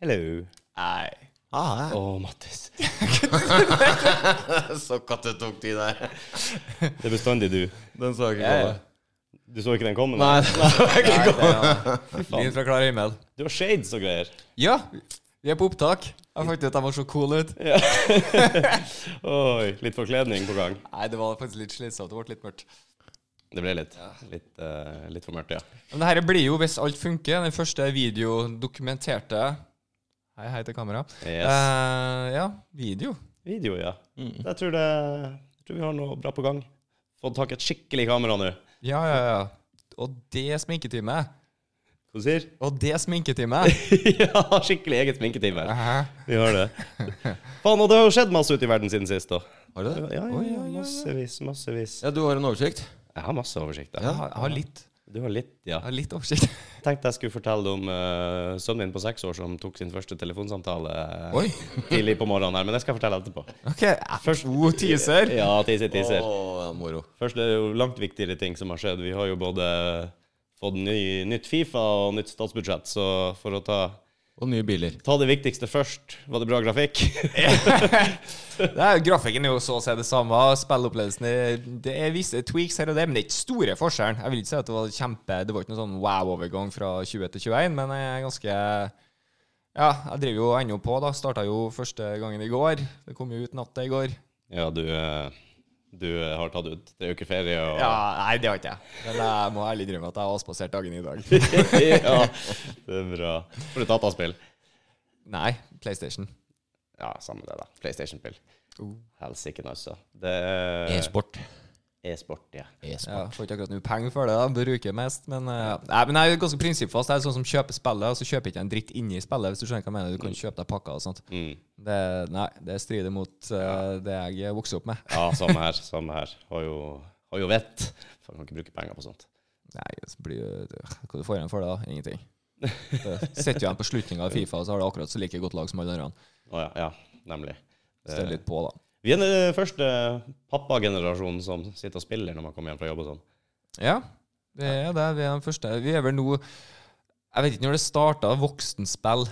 Hello. Nei. Ah, Å, Mattis. Så katte tok de der. Det er bestandig du. Den så jeg ikke Ja, ja. komme. Du så ikke den komme? Nei, da? det Nei, det er- Lyn fra klar himmel. Du har shades og greier. Ja, vi er på opptak. Jeg fant ut at jeg var så cool ut. Oi, litt forkledning på gang. Nei, det var faktisk litt slitsomt. Det ble litt mørkt. Det ble litt, litt, eh, litt for mørkt, ja. Men det her blir jo, hvis alt funker, den første videodokumenterte Hei, hei til kamera. Yes. Eh, ja, video. Video, ja. Mm. Jeg, tror det, jeg tror vi har noe bra på gang. Fått tak i et skikkelig kamera nå. Ja, ja, ja. Og det sminketime. Hva du sier Og det sminketime. ja, skikkelig eget sminketime. Hæ? Vi har det. Faen, og det har jo skjedd masse ute i verden siden sist, da. Har du Ja, det? ja, ja, massevis, massevis. Ja, du har en oversikt? Jeg har masse oversikt. Jeg Ja. har, jeg har litt Du har litt, ja. jeg har litt oversikt. Tenkte jeg skulle fortelle om eh, sønnen min på seks år som tok sin første telefonsamtale eh, Oi. tidlig på morgenen her, men det skal jeg fortelle etterpå. OK. Først god teaser. Ja, teaser, teaser. Å, ja, moro. Først det er jo langt viktigere ting som har skjedd. Vi har jo både fått ny, nytt Fifa og nytt statsbudsjett, så for å ta, Og nye biler. ta det viktigste først Var det bra grafikk? Det er, grafikken er jo så å si det samme. Spilleopplevelsen er, Det er visse tweaks her og der, men det er ikke store forskjellen. Jeg vil ikke si at det var kjempe Det var ikke noen sånn wow-overgang fra 20 til 21, men jeg er ganske Ja, jeg driver jo ennå på, da. Starta jo første gangen i går. Det kom jo ut natta i går. Ja, du, eh, du eh, har tatt ut tre uker ferie og Ja, nei, det har ikke jeg. Men jeg må ærlig innrømme at jeg har avspasert dagen i dag. Ja, det er bra. For et dataspill. Nei, PlayStation. Ja, samme det, da. PlayStation-spill. Oh. Helsike, altså. Det er E-sport. E-sport, ja. Ja, får ikke akkurat noe penger for det, da. bruker mest. Men, eh, ja. Nei, men jeg er ganske prinsippfast. Jeg er sånn som kjøper spillet, og så kjøper jeg ikke en dritt inni spillet. Hvis Du skjønner hva jeg mener Du kan kjøpe deg pakker og sånt. Mm. Det, nei, det strider mot eh, det jeg vokste opp med. Ja, samme her. Samme her. Har jo, har jo vett. For man kan ikke bruke penger på sånt. Nei, så blir jo eh, Hva du får igjen for det, da? Ingenting. Du sitter jo igjen på slutninga av Fifa, og så har du akkurat så like godt lag som alle andre. Å ja, ja, nemlig. Så det er litt på, da. Vi er den eh, første pappagenerasjonen som sitter og spiller når man kommer hjem fra jobb og sånn. Ja, det er det. Vi er den første. Vi er vel nå Jeg vet ikke når det starta voksenspill.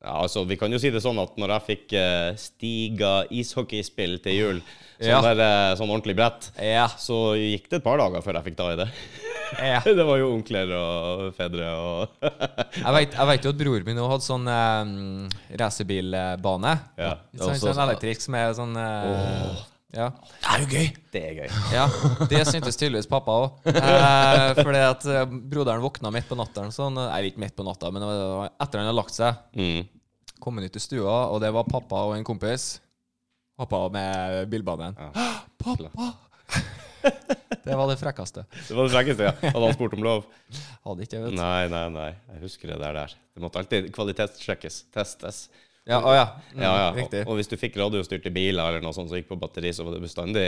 Ja, altså, vi kan jo si det sånn at når jeg fikk eh, Stiga ishockeyspill til jul, sånn, Ja. der, eh, sånn ordentlig brett, Ja. så gikk det et par dager før jeg fikk ta i det. ja. Det var jo onkler og fedre og Jeg vet, jeg vet jo at broren min også hadde sånn um, racerbilbane. Ja. Ikke sant? Sånn elektrisk som er sånn eh, ja. Det er jo gøy! Det er gøy. ja. Det syntes tydeligvis pappa òg. Eh, fordi at eh, broderen våkna midt på natta. Sånn, nei, ikke midt på natta, men det var etter han hadde lagt seg. Mm. Kom han ut i stua, og det var pappa og en kompis. Pappa med bilbanen. Pappa! det var det frekkeste. Det var det frekkeste, ja. Hadde han spurt om lov? Hadde ikke, vet du. Nei, nei, nei. Jeg husker det der. der. Det måtte alltid kvalitetssjekkes. Testes. Ja, å ja. Mm, Ja, ja. Og, Riktig. og hvis du fikk radiostyrte biler eller noe sånt som gikk på batteri, så var det bestandig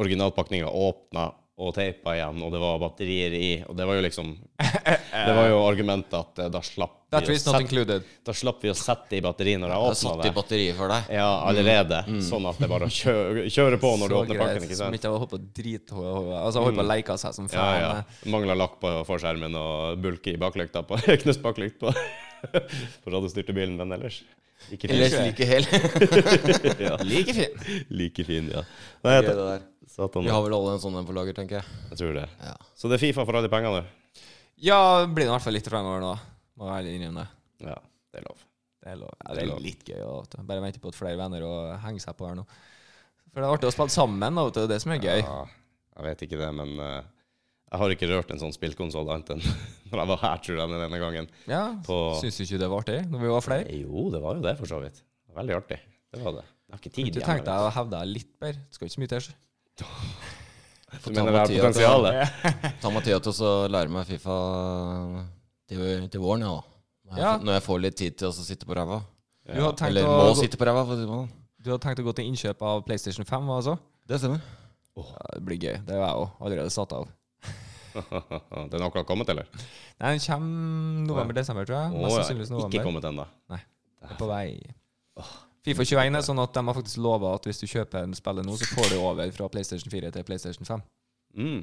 originalpakninga åpna og teipa igjen, og det var batterier i. Og det var jo liksom Det var jo argumentet at eh, da slapp vi That å is not sette, included. da slapp vi å sette i batteri når Jeg har jeg satt i åpna det. batteriet for deg. Mm, Ja, allerede. Sånn at det bare å kjøre, kjøre på når du Så åpner greit, pakken, ikke Som sant? Mm. ikke har holdt på å drite Altså holdt på å leke seg som Ja, faen. ja. eh. Mangla lakk på forskjermen og bulke i baklykta på knust baklykt på, på radiostyrte bilen, men ellers ikke fin. Ellers like hel. ja. Like fin. Like fin, ja. Nei, jeg, satan, Vi har vel alle en sånn en på lager, tenker jeg. Jeg tror det. Ja. Så det er Fifa for alle pengene. Ja, blir det i hvert fall litt fremover nå. Må være ærlig innrømme det. Ja, det er lov. Det er, lov. er Ja, det er lov. litt gøy. å- vet du. Bare venter på at flere venner å henge seg på her nå. For det er artig å spille sammen, da, vet du. Det er det som er gøy. Ja, jeg vet ikke det, men eh, jeg har ikke rørt en sånn spillkonsoll annet enn når jeg var her, tror jeg, den ene gangen. Ja, På- Syns du ikke det var artig når vi var flere? Eh, Jo, det var jo det, for så vidt. Veldig artig. Det var det. Jeg har ikke Du tid tenkte jeg å hevde deg litt bedre. Det skal ikke så mye til. Du ta mener det er Mathias, potensialet? Ta Mathea til å lære meg Fifa til, til våren, ja. Når jeg, Ja. når jeg får litt tid til å sitte på ræva. Du hadde tenkt, Eller å, må gå- sitte på ræva, for å si det sånn. du hadde tenkt å gå til innkjøp av PlayStation 5, hva altså? Det stemmer. Ja, det blir gøy. Det er jeg òg allerede satt av. Den har akkurat kommet, eller? Nei, Den kommer november-desember, tror jeg. Mest Å, ja. sannsynligvis Ikke november. kommet ennå. Det er på vei. Fifa 21 er sånn at de har faktisk lova at hvis du kjøper en spiller nå, så får du over fra PlayStation 4 til PlayStation 5. Mm.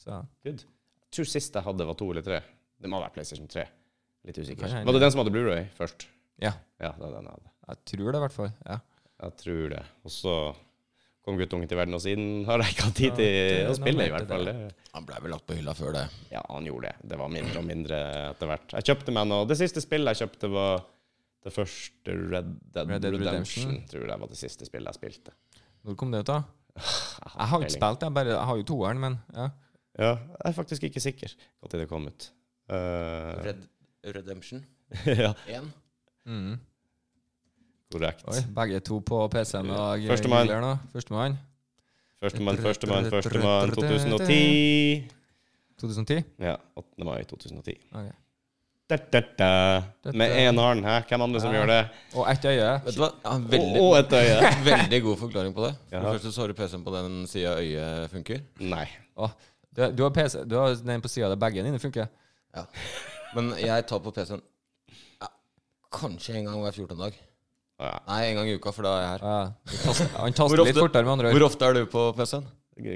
Så Good. Jeg tror sist jeg hadde, var to eller tre. Det må ha vært PlayStation 3. Litt usikker. Kanskje en- Var det den som hadde Blu-ray først? Ja. Ja, det var den jeg hadde. jeg tror det, i hvert fall. Ja. Jeg tror det. Og så kom guttungen til verden, og siden har jeg ikke hatt tid til Ja, å det- spille, i det- hvert fall. Han blei vel lagt på hylla før det. Ja, han gjorde det. Det var mindre og mindre etter hvert. Jeg kjøpte meg noe Det siste spillet jeg kjøpte, var det første Red Dead, Red Dead Redemption. Redemption. Tror jeg var det siste spillet jeg spilte. Når kom det ut, da? Jeg har jo ikke spilt, jeg, bare, jeg har jo toeren, men ja. Ja, jeg er faktisk ikke sikker når det kom ut. Eh, Redemption ja, 1. Mm. korrekt. Oi, begge to på PC-en og Førstemann. Googler nå. Førstemann. Førstemann, førstemann, førstemann 2010. 2010. Ja, 8. mai 2010. Ok. Da, da, da. Med én arm, hæ? Hvem andre som gjør det? Og ett øye. Vet du hva? Jeg har en Og, veldig, og et øye. veldig god forklaring på det. For Jaha. det første så har du PC-en på den sida øyet funker. Nei. Å, du, du har PC, du har den på sida der begge dine funker. Men jeg tar på PC-en ja, kanskje en gang hver 14. dag. Ja. Nei, en gang i uka, for da er jeg her. Ja. Han taster Hvor litt ofte- fortere, med andre ord. Hvor ofte er du på PC-en?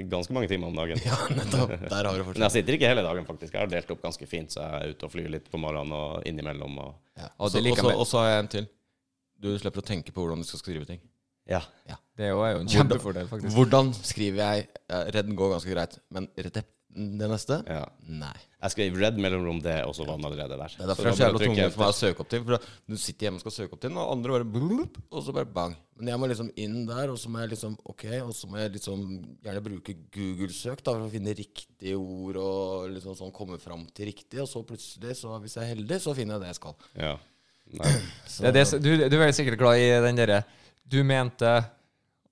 Ganske mange timer om dagen. Ja, nettopp. Der har du Men fortsatt. jeg sitter ikke hele dagen, faktisk. Jeg har delt opp ganske fint, så jeg er ute og flyr litt på morgenen og innimellom. Og... Ja. Og Og det så liker jeg og så- med- og så har jeg en til. Du slipper å tenke på hvordan du skal skrive ting. Ja. Det er jo er jo en kjempefordel, faktisk. Hvordan skriver jeg ja, Redden går ganske greit, men rett det neste? ja. Nei. Jeg skrev red mellomrom det, og så var den allerede der. Det Så er derfor det er så da bare jævla trykker jeg tungvint for meg å søke opp til. For da- du sitter hjemme og skal søke opp til den, og andre bare blup, og så bare bang. Men jeg må liksom inn der, og så må jeg liksom ok, og så må jeg liksom gjerne bruke Google-søk da, for å finne riktige ord og liksom sånn komme fram til riktig, og så plutselig, så hvis jeg er heldig, så finner jeg det jeg skal. etter. Ja. Nei. Så, Det er det, som- du, du er veldig sikkert glad i den derre Du mente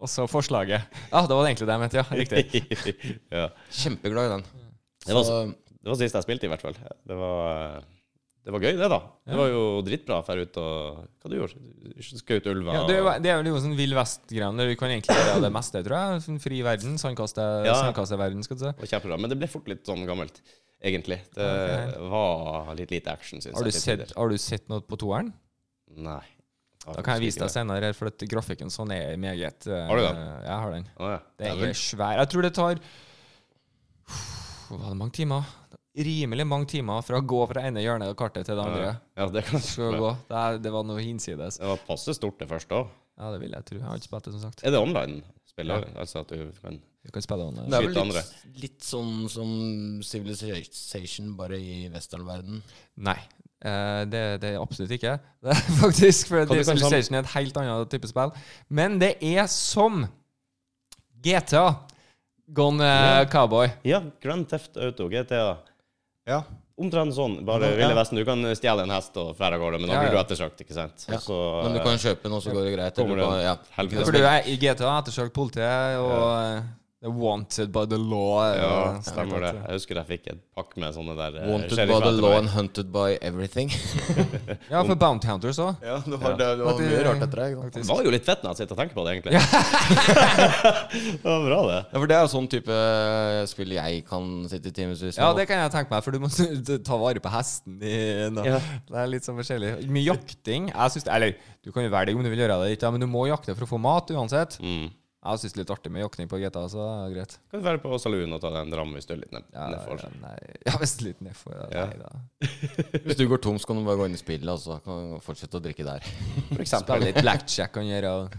også forslaget. Ja, det var det egentlig det jeg mente, ja. Riktig. ja. Kjempeglad i den. Det var Så- Det var sist jeg spilte, i hvert fall. Det var, det var gøy, det, da. Det var jo dritbra å dra ut og Hva du gjorde du? Skjøt ulver? Ja, det, er jo- det er vel jo sånn vill vest-greier. der Du kan egentlig gjøre det meste, tror jeg. Sånn fri verden. Sandkaste, Ja. Sandkasteverden, skal du si. og, og kjempebra. Men det ble fort litt sånn gammelt, egentlig. Det var litt lite action, syns jeg. Har du, til sett, tider. har du sett noe på toeren? Nei. Da kan jeg vise deg senere, for at grafikken sånn er meget eh, Har du den? Jeg har den. Å ja. Det er Dæven. svær. Jeg tror det tar Hvor Var det mange timer? Rimelig mange timer fra å gå fra ene hjørnet av kartet til det andre. Eh, Ja, det kan Skal det gå. Det, er- det var noe hinsides. var passe stort, det første òg. Ja, det vil jeg tro. Jeg har ikke spilt det, som sagt. Er det online spill òg? Altså at du kan Du kan spille online. Det er Skyte vel litt, litt sånn som Civilization, bare i westernverden. Nei, eh, det, det er absolutt ikke. Det er faktisk For Kan du det, kan sam- Civilization er et helt annet type spill. Men det er som GTA gone eh, Ja. cowboy. Ja, Grand Theft Auto, GTA. Ja. Omtrent sånn. Bare Ja. Ville Vesten. Du kan stjele en hest og fære av gårde, men da Ja, blir du ja. ettersøkt, ikke sant? Ja, Og så, eh, Men du kan kjøpe den, og så går det greit. Kommer Eller bare, det- ja. Helvete. For du er i GTA ettersøkt politiet, og eh, det er wanted by the law. eh, Ja, og- stemmer det. Jeg husker jeg fikk et pakk med sånne der eh, Wanted by sheriffer the etter law meg. and hunted by everything. Ja, for Bounty Hunters òg. Ja, det var, mye rart etter deg. Det var jo litt fett når jeg sitter og tenker på det, egentlig. det var bra, det. Ja, for det er jo sånn type spill jeg kan sitte i timevis Ja, med. det kan jeg tenke meg, for du må ta vare på hesten. I, nå. Det er litt sånn forskjellig. Mye jakting jeg synes, Eller du kan jo velge om du vil gjøre det, eller ikke, men du må jakte for å få mat uansett. Mm. Jeg syns det er litt artig med jakting på GTA, så det er greit. Kan du være på saloon og ta deg en dram hvis du er litt ned- Ja, nedfor? ja, nei. ja hvis det er litt nedfor. Ja, Ja. Nei da. Hvis du går tom, så kan du bare gå inn i spillet og så kan du fortsette å drikke der. For Spille eksempel. litt blackjack kan gjøre.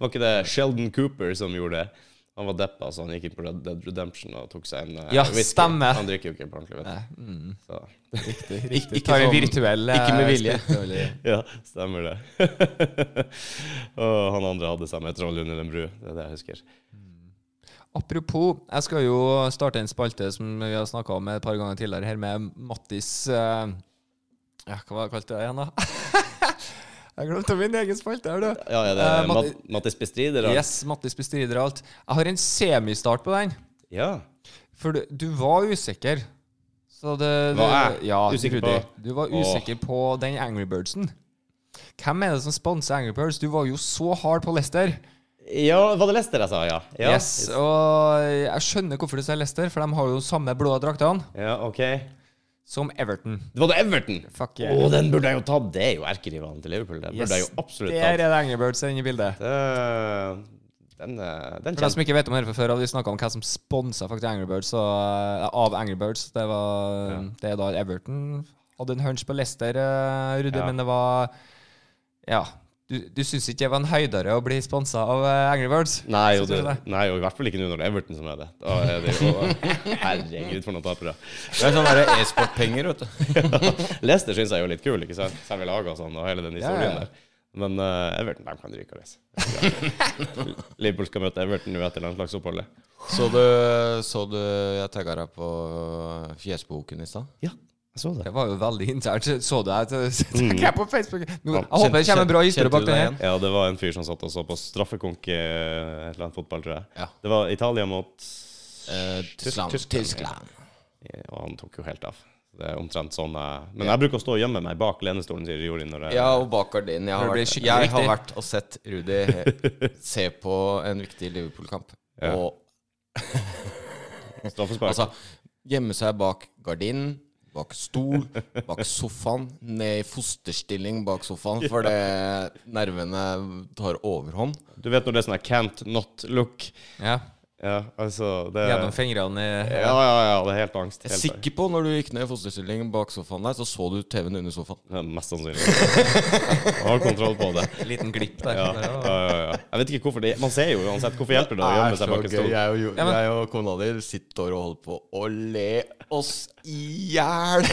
Var ikke det Sheldon Cooper som gjorde det? Han var deppa, så han gikk inn på Red Dead Redemption og tok seg en eh, Ja, stemmer. Han drikker jo ikke på ordentlig, vet Nei, mm. du. Så. Riktig. riktig. ikke Ta en sånn- virtuell eh, ikke med vilje. spillteori. Ja, stemmer det. og han andre hadde seg med et troll under en bru. Det er det jeg husker. Apropos, jeg skal jo starte en spalte som vi har snakka om et par ganger tidligere, her med Mattis eh, Ja, hva var det kalt det igjen, da? jeg glemte min egen spalte her, du. Ja, er det Eh, Matti- Mat Mattis Bestrider? han? Yes, Mattis bestrider alt. Jeg har en semistart på den. Ja. For du, du var usikker. Så det, det Var jeg ja, usikker Rudi. på? Du var Åh. usikker på den Angry Birdsen. Hvem er det som sponser Angry Birds? Du var jo så hard på Lester. ja, var det Lester jeg sa? Ja. ja. Yes, og jeg skjønner hvorfor du sier Lester, for de har jo samme blå draktene Ja, OK. som Everton. Det var det Everton! Fuck Å, yeah. den burde jeg jo tatt! Det er jo erkerivalen til Liverpool. Den Yes, burde jeg jo absolutt Der er tatt. det Angry Birds inne i bildet. Det- Den, eh, den For dem kjente som ikke vet om det fra før, har vi snakka om hva som sponsa faktisk Angry Birds. Og, eh, av Angry Birds. Det var det er da Everton hadde en hunch på Leicester, eh, Rudi, Ja. men det var Ja. Du, du syns ikke det var en høydere å bli sponsa av eh, Angry Birds? Nei, og Synes det, du nei, og i hvert fall ikke nå når det er Everton som er det. Da er det jo Herregud, for noen tapere. Det er sånn der, E-sportpenger, vet du. Leicester syns jeg er jo litt kul, ikke sant? Selve laget og sånn, og hele den historien Ja, ja. der. Men eh, Everton de kan ryke og reise. Liverpool skal møte Everton nå etter landslagsoppholdet. Så du, så du jeg tagga deg på fjesboken i stad? Ja, jeg så Det var jo veldig internt. Så du det? Tenker jeg på Facebook Nå, Ja, Jeg håper det kjente- kommer en bra kjente historie du bak det deg her. igjen? Ja, det var en fyr som satt og så på straffekonk i et eller annet fotball, tror jeg. Ja. Det var Italia mot Eh, Tyskland. Tyskland. Tyskland. Og han tok jo helt av. Det er omtrent sånn jeg Men jeg bruker å stå og gjemme meg bak lenestolen til Jordi når jeg Ja, og bak gardinen. Jeg har, Det blir vært, skikkelig jeg har viktig. vært og sett Rudi se på en viktig Liverpool-kamp. Ja. Og straffespark. altså gjemme seg bak gardinen, bak stol, bak sofaen, ned i fosterstilling bak sofaen, for det nervene tar overhånd. Du vet når det er sånn her can't not look. Ja, Ja, altså det gjennom fingrene i Ja, ja, ja. Det er helt angst. Jeg Helt er sikker på når du gikk ned i fosterstilling bak sofaen der, så så du TV-en under sofaen. angst. Ja, Mest sannsynlig. Har kontroll på det. liten glipp der. Ja, ja, ja, ja. Jeg vet ikke hvorfor det Man ser jo uansett. Hvorfor hjelper det å gjemme seg bak en stol? Jeg og, men- jeg og kona di sitter og holder på å le oss i hjel.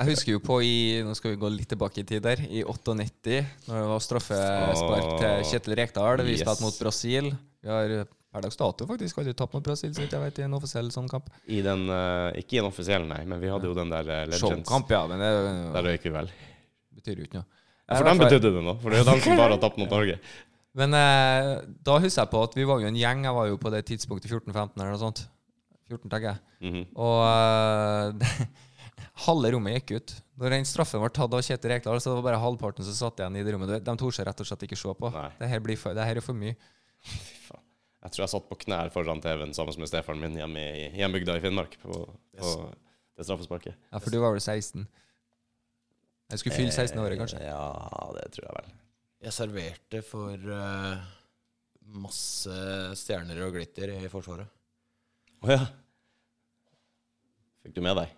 Jeg husker jo på i Nå skal vi gå litt tilbake i tid der. I 98, når det var straffespark til Kjetil Rekdal. Vi Yes. spilte mot Brasil. Vi har per dags dato faktisk aldri tapt mot Brasil, så vidt jeg vet, i en offisiell sånn kamp. I den eh, Ikke i den offisielle, nei, men vi hadde jo den der eh, Legends. Showkamp, Sånn ja, men det Der røyk vi vel. betyr jo ikke noe. Ja, I For hvert dem fall- betydde det noe. For det er jo dem som bare har tapt mot Norge. Men eh, da husker jeg på at vi var jo en gjeng. Jeg var jo på det tidspunktet 14-15 eller noe sånt. 14, tenker jeg. Mhm. Og eh, halve rommet gikk ut. Når den straffen var tatt av Kjetil Rekdal, så det var bare halvparten som satt igjen i det rommet. De torde seg rett og slett ikke se på. Nei. Det her, blir for, det her er for mye. Jeg tror jeg satt på knær foran TV-en sammen med stefaren min hjemme i i hjembygda i Finnmark på, på det straffesparket. Ja, for du var vel 16? Jeg skulle fylle 16 året, kanskje. Eh, Ja, det tror jeg vel. Jeg serverte for eh, masse stjerner og glitter i Forsvaret. Å ja. Fikk du med deg?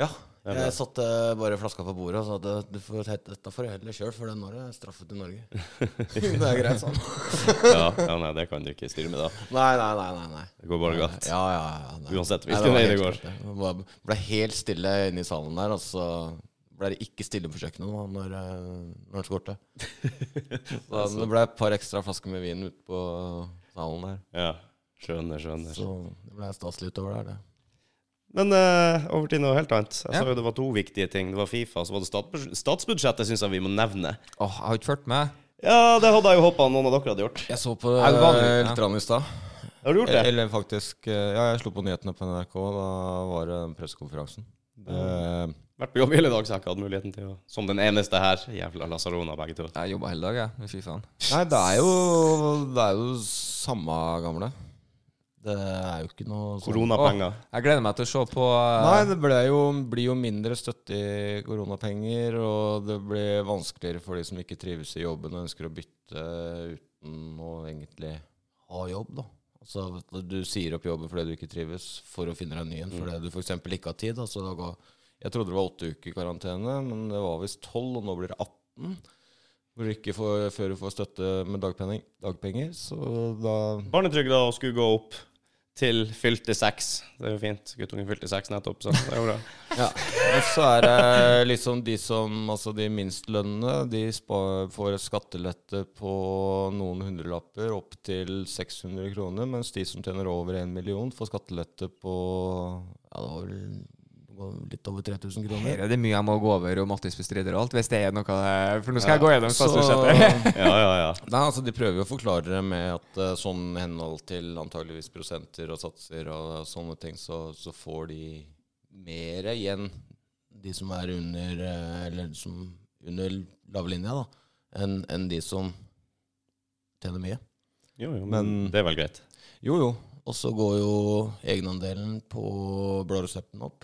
Ja. Ja, bra. Jeg satte bare flaska på bordet og sa at eh, du får, het- dette får du heller sjøl, for den har jeg straffet i Norge. det er greit, sånn. Ja, ja, nei, det kan du ikke styre med, da. Nei, nei, nei. nei, nei. Det går bare galt. Ja, ja, ja. nei. Uansett Nei, hvilken var vei det helt går. klart, det. Det var- ble helt stille inne i salen der, og så ble det ikke stille på kjøkkenet nå, når, eh, når han skårte. Så det ble et par ekstra flasker med vin ute på salen der. Ja, skjønner, skjønner. Så det ble staselig utover der, det. Men eh, over til noe helt annet. Jeg Ja. sa jo det var to viktige ting. Det var Fifa, så var det statsbudsjettet, statsbudsjettet syns jeg vi må nevne. Åh, jeg har ikke fulgt med. Ja, det hadde jeg jo håpa noen av dere hadde gjort. Jeg så på Er det vanlig? det Ja. litt rann i stad. Har du gjort det? Eller faktisk eh, Ja, jeg slo på nyhetene på NRK, og da var det den pressekonferansen. Eh, Vært på jobb hele dag, så jeg har ikke hatt muligheten til å Som den eneste her. Jævla Lasarona, begge to. Jeg jobba hele dag, jeg. Men fy faen. Nei, det er jo Det er jo samme gamle. Det er jo ikke noe sånn Koronapenger. Jeg gleder meg til å se på Nei, eh, det ble jo, blir jo mindre støtte i koronapenger, og det blir vanskeligere for de som ikke trives i jobben og ønsker å bytte uten å egentlig ha jobb, da. Altså at du sier opp jobben fordi du ikke trives, for å finne deg en ny en fordi du f.eks. ikke har tid. Altså, da ga, jeg trodde det var åtte uker i karantene, men det var visst tolv, og nå blir det 18. Hvor du ikke får, før du får støtte med dagpenning, dagpenger, så da Barnetrygda skulle gå opp til fylte seks. Det er jo fint. Guttungen fylte seks nettopp, så det er jo bra. Ja, og så er det liksom de som, altså de minstlønnene, de spa- får skattelette på noen hundrelapper opp til 600 kroner, mens de som tjener over en million får skattelette på, ja det var vel Gå Litt over 3000 kroner. Her eh, er det mye jeg må gå over, og Mattis bestrider alt, hvis det er noe eh, For nå Ja, skal jeg gå gjennom statsbudsjettet. Ja, ja, ja. Nei, altså De prøver jo å forklare det med at eh, sånn i henhold til antageligvis prosenter og satser og sånne ting, så, så får de mer igjen, de som er under eh, Eller som under lavlinja, da, enn enn de som tjener mye. Jo, jo, men Men- det er vel greit. Jo, jo. Og så går jo egenandelen på blå resepten opp.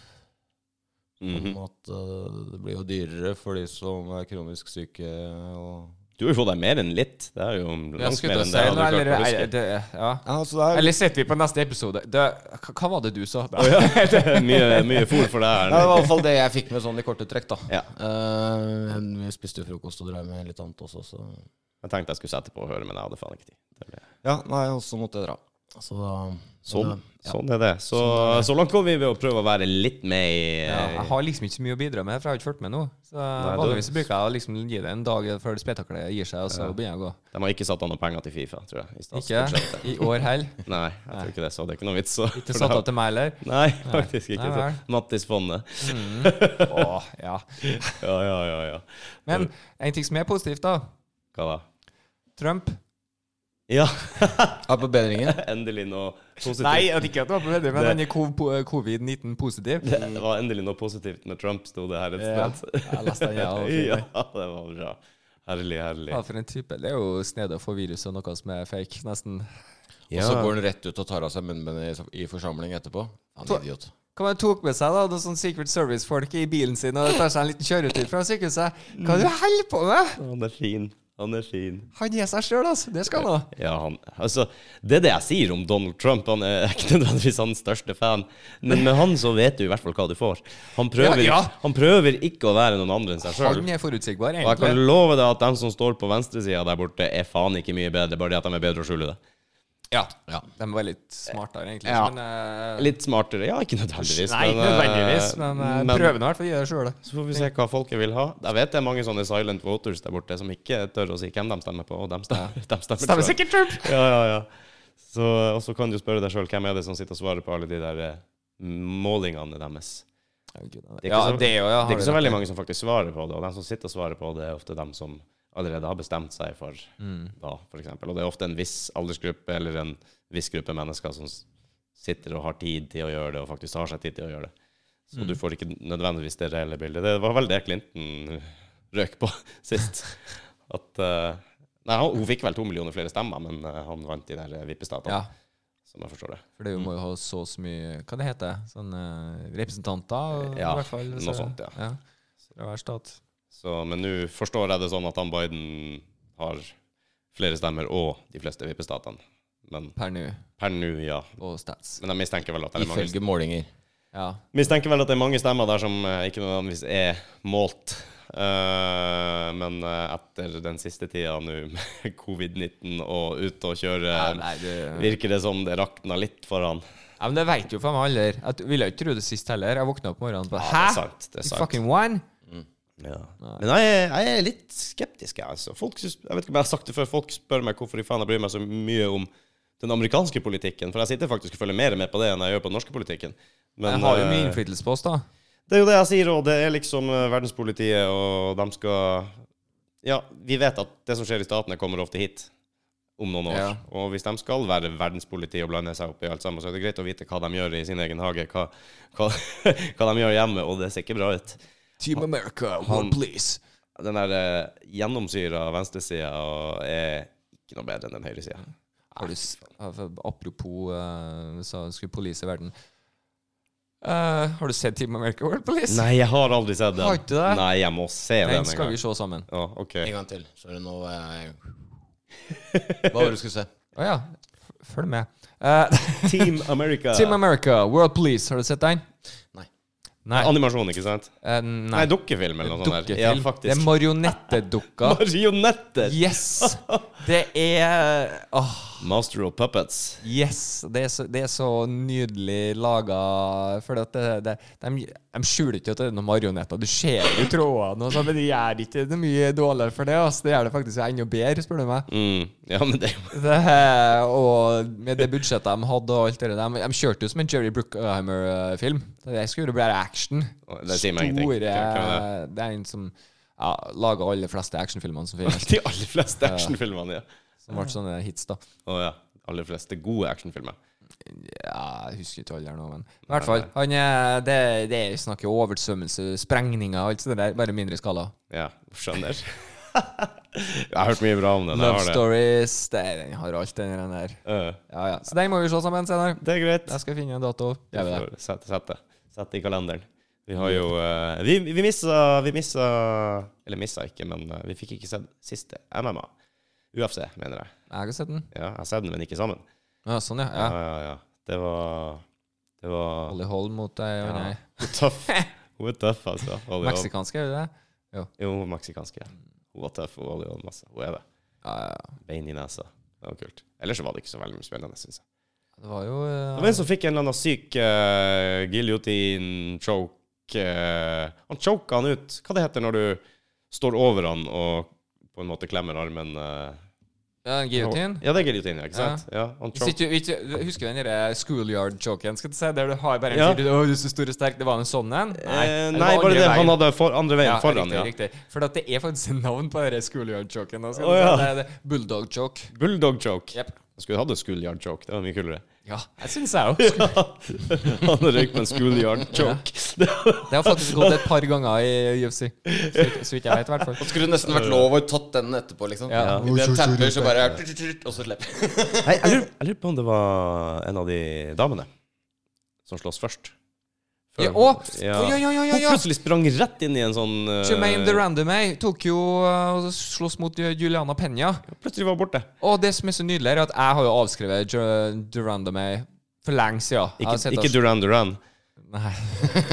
Mhm. Sånn at eh, det blir jo dyrere for de som er kronisk syke. Og Du har jo fått deg mer enn litt. Det er jo langt Jeg skulle mer til å enn si det jeg noe, hadde klart eller, å nei, huske. det, ja. ja, altså det eller sitter vi på neste episode? Det, hva hva var det du sa? Å, ja. Det er mye, mye fôr for deg Ja, det her. var i hvert fall det jeg fikk med sånn i korte trekk, da. Ja. Eh, vi spiste jo frokost og drev med litt annet også, så Jeg tenkte jeg skulle sette på og høre, men jeg hadde faen ikke tid. Det ble- Ja, nei, og så måtte jeg dra. Så um, uh, da Sånn, Ja. sånn er det. Så, så langt går vi ved å prøve å være litt med i Ja, jeg har liksom ikke så mye å bidra med, for jeg har ikke fulgt med nå. Så det- Vanligvis så bruker jeg å liksom gi det en dag før spetakkelet gir seg, og så begynner jeg å gå. De har ikke satt av noen penger til Fifa, tror jeg. I Ikke statsbudsjettet. i år heller. Nei, jeg tror ikke det, så det er ikke noe vits. Så. Ikke satt av til meg heller. Nei, faktisk ikke. Nei Så. vel. Mattis-fondet. Åh, ja. Ja, ja, ja, ja. Men en ting som er positivt, da. Hva da? Trump. Ja, Er på bedringen. endelig noe positivt. Nei, jeg vet ikke at det var på bedre, men Det- den er kov- po- covid-19 positiv. Det var endelig noe positivt med Trump, sto det her et Ja, sted. jeg leste den, ja, og fin, ja, det var bra. Herlig, herlig. Ja, for en type. Det er jo snedig å få virus og noe som er fake, nesten. Og så går han rett ut og tar av seg munnbindet i, i forsamling etterpå. Han er idiot. Hva man tok med seg da, noen sånn Secret Service-folk i bilen sin og tar seg en liten kjøretur fra sykehuset? Hva er det du holder på med? Han er fin. Han er fin. Han er seg sjøl, altså. Det skal han ha. Ja, han, altså, det er det jeg sier om Donald Trump. Han er ikke nødvendigvis hans største fan, men med han så vet du i hvert fall hva du får. Han prøver, Ja, ja. Han prøver ikke å være noen andre enn seg sjøl. Han er forutsigbar, Og jeg kan egentlig. love deg at de som står på venstresida der borte, er faen ikke mye bedre, bare det at de er bedre å skjule det. Ja. Ja. De var litt smartere, egentlig. Ja. Men, eh, Litt smartere, ja, ikke nødvendigvis. Nei, eh, nødvendigvis, men, eh, prøv nå i hvert fall å gjøre det sjøl. Så får vi se hva folket vil ha. Jeg vet det er mange sånne silent voters der borte som ikke tør å si hvem de stemmer på, og de stemmer, de stemmer, Stemmer Trump. sikkert Trump. Ja, ja, ja. Så, og så kan du jo spørre deg sjøl hvem er det som sitter og svarer på alle de der eh, målingene deres. Det er ikke Ja, så- det er jo Det ja, har er ikke så du rett i. veldig mange som faktisk svarer på det, og de som sitter og svarer på det, er ofte dem som allerede har bestemt seg for da, f.eks. Og det er ofte en viss aldersgruppe eller en viss gruppe mennesker som s- sitter og har tid til å gjøre det, og faktisk har seg tid til å gjøre det. Så du får ikke nødvendigvis det reelle bildet. Det var vel det Clinton røk på sist. At eh, Nei, hun hun fikk vel to millioner flere stemmer, men eh, han vant i de der vippestatene, Ja, som jeg forstår det. for det er jo må jo ha så så mye Hva det heter det? Sånne eh, representanter? Ja, i hvert fall, noe sånt, ja. Fra hver stat. Så, men nå forstår jeg det sånn at han Biden har flere stemmer og de fleste vippestatene. Men Per nå. per nå, ja. Og stats. Men jeg mistenker vel at det er mange, Ifølge målinger. Ja. mistenker vel at det er mange stemmer der som eh, ikke nødvendigvis er målt. Eh, men eh, etter den siste tida nå med covid-19 og ute og kjøre, Nei, nei, det- virker det som det rakna litt for han. Ja, men det veit jo faen meg alle. her. Jeg ville jo ikke tro det sist heller. Jeg våkna opp morgenen på Ja, det Hæ? er sant. Det er You sant. fucking one? Ja. Men jeg, er- jeg er litt skeptisk, jeg. Altså. Folk, sys- jeg vet ikke om jeg har sagt det før, folk spør meg hvorfor i faen jeg bryr meg så mye om den amerikanske politikken. For jeg sitter faktisk og følger mer med på det enn jeg gjør på den norske politikken. Men, Jeg har jo mye eh, innflytelse på oss, da. det er jo det jeg sier, og det er liksom eh, verdenspolitiet, og de skal Ja, vi vet at det som skjer i statene, kommer ofte hit om noen år. Ja. Og hvis de skal være verdenspoliti og blande seg opp i alt sammen, så er det greit å vite hva de gjør i sin egen hage, hva, hva, hva de gjør hjemme, og det ser ikke bra ut. Team America, Han- please. Den der eh, gjennomsyra venstresida og er ikke noe bedre enn den høyresida. Har du, s- apropos eh, så skulle police i verden. Eh, har du sett Team America World Police? Nei, jeg har aldri sett den. Har ikke det? Nei, jeg må se den Den en skal gang. vi se sammen. Ja, ok. En gang til. Så er det nå jeg Hva var det du skulle se? Å ja. F- Følg med. Eh, Team America. Team America, World Police, har du sett den? Nei. Nei. Animasjon, ikke sant? Eh, Nei, nei. dukkefilm eller noe sånt. der. sånn Ja, Dukkefilm. det faktisk. er marionettedukker. Marionetter! Yes! Det er Åh, Master of Puppets. yes! Det er så, det er så nydelig laga. For at det, det, de, de skjuler ikke at det er noen marionetter. Du ser jo trådene, og sånn, men de gjør ikke det mye dårligere for det. ass. Det gjør det faktisk enda bedre, spør du meg. Mm. Ja, men det Det, og med det budsjettet de hadde, og alt det der de, de kjørte jo som en Jerry Brookheimer-film. Jeg skulle jo bare action. Det sier meg ingenting. Store Hvem er Det er en som ja, laga alle fleste actionfilmene som finnes. De aller fleste actionfilmene, ja. Som ble sånne hits, da. Å ja. De aller fleste gode actionfilmer. Ja, jeg husker ikke alderen nå, men I hvert fall. Han er, det, det er snakk om oversvømmelse, sprengninger, alt sånt der. Bare mindre skala. Ja, skjønner. Jeg har hørt mye bra om den. jeg Love har det. Stories. Det, den har alt, den der, den der. Ja, Ja, ja. Så den må vi se sammen senere. det er greit. Jeg skal finne en dato. Gjør vi det. Får Sette, sette, sette i kalenderen. Vi har jo eh, Vi, vi missa Vi missa Eller missa ikke, men eh, vi fikk ikke sett siste MMA. UFC, mener jeg. Jeg har ikke sett den. Ja, jeg har sett den, men ikke sammen. Ja, sånn, ja. Ja, ja. ja, ja. Det var Det var Holly Holm mot eh, ei ja. Ja. Hun er tøff. Hun er tøff, altså. Holly Holm. meksikansk, er det det? Jo, meksikansk, ja. Hun var tøff, hun Holly Holm, altså. Hun er det. Ja, ja, ja. Bein i nesa. Det var kult. Ellers så var det ikke så veldig mye spennende, syns jeg. Det var jo Det eh, var en som fikk en eller annen syk uh, giljotin-choke. eh, han choka han ut. Hva det heter når du står over han og på en måte klemmer armen eh, ja, en Guillotine. Ja, det er giljotin, ja, ikke sant? Ja, han Hvis choke. ikke, hvis ikke, husker du den der schoolyard-choken? Skal du si, Der du har bare en Ja. fyr du- «Å, du er så stor og sterk. Det var en sånn en? Eh, det nei, bare var andre det. Han veien. hadde for, andre veien Ja, foran, riktig, ja. Riktig. For at det er faktisk navn på den schoolyard-choken. da, skal Å, du si. ja. Det er det. Bulldog choke. Bulldog choke. Jep. Skulle hatt en schoolyard choke. Det var mye kulere. Ja, jeg syns jeg òg. Han røyk med en schoolyard choke. Det har faktisk gått et par ganger i UFC. Så vidt- Så vidt jeg vet, i hvert fall. Det skulle nesten vært lov å tatt den etterpå, liksom. Ja. I det tapper, så bare Og så slipper Hei, jeg, lurer, jeg lurer på om det var en av de damene som slåss først. Før- Ja, å! Å, ja, ja, ja, ja, ja. Hun plutselig sprang rett inn i en sånn eh, Jermaine the Randomay tok jo eh, og sloss mot Juliana Penya. Plutselig var hun borte. Og det som er så nydelig, er at jeg har jo avskrevet Jer- Duran Demay eh, for lenge siden. Jeg har Ikke, sett ikke at- Duran Duran. Nei.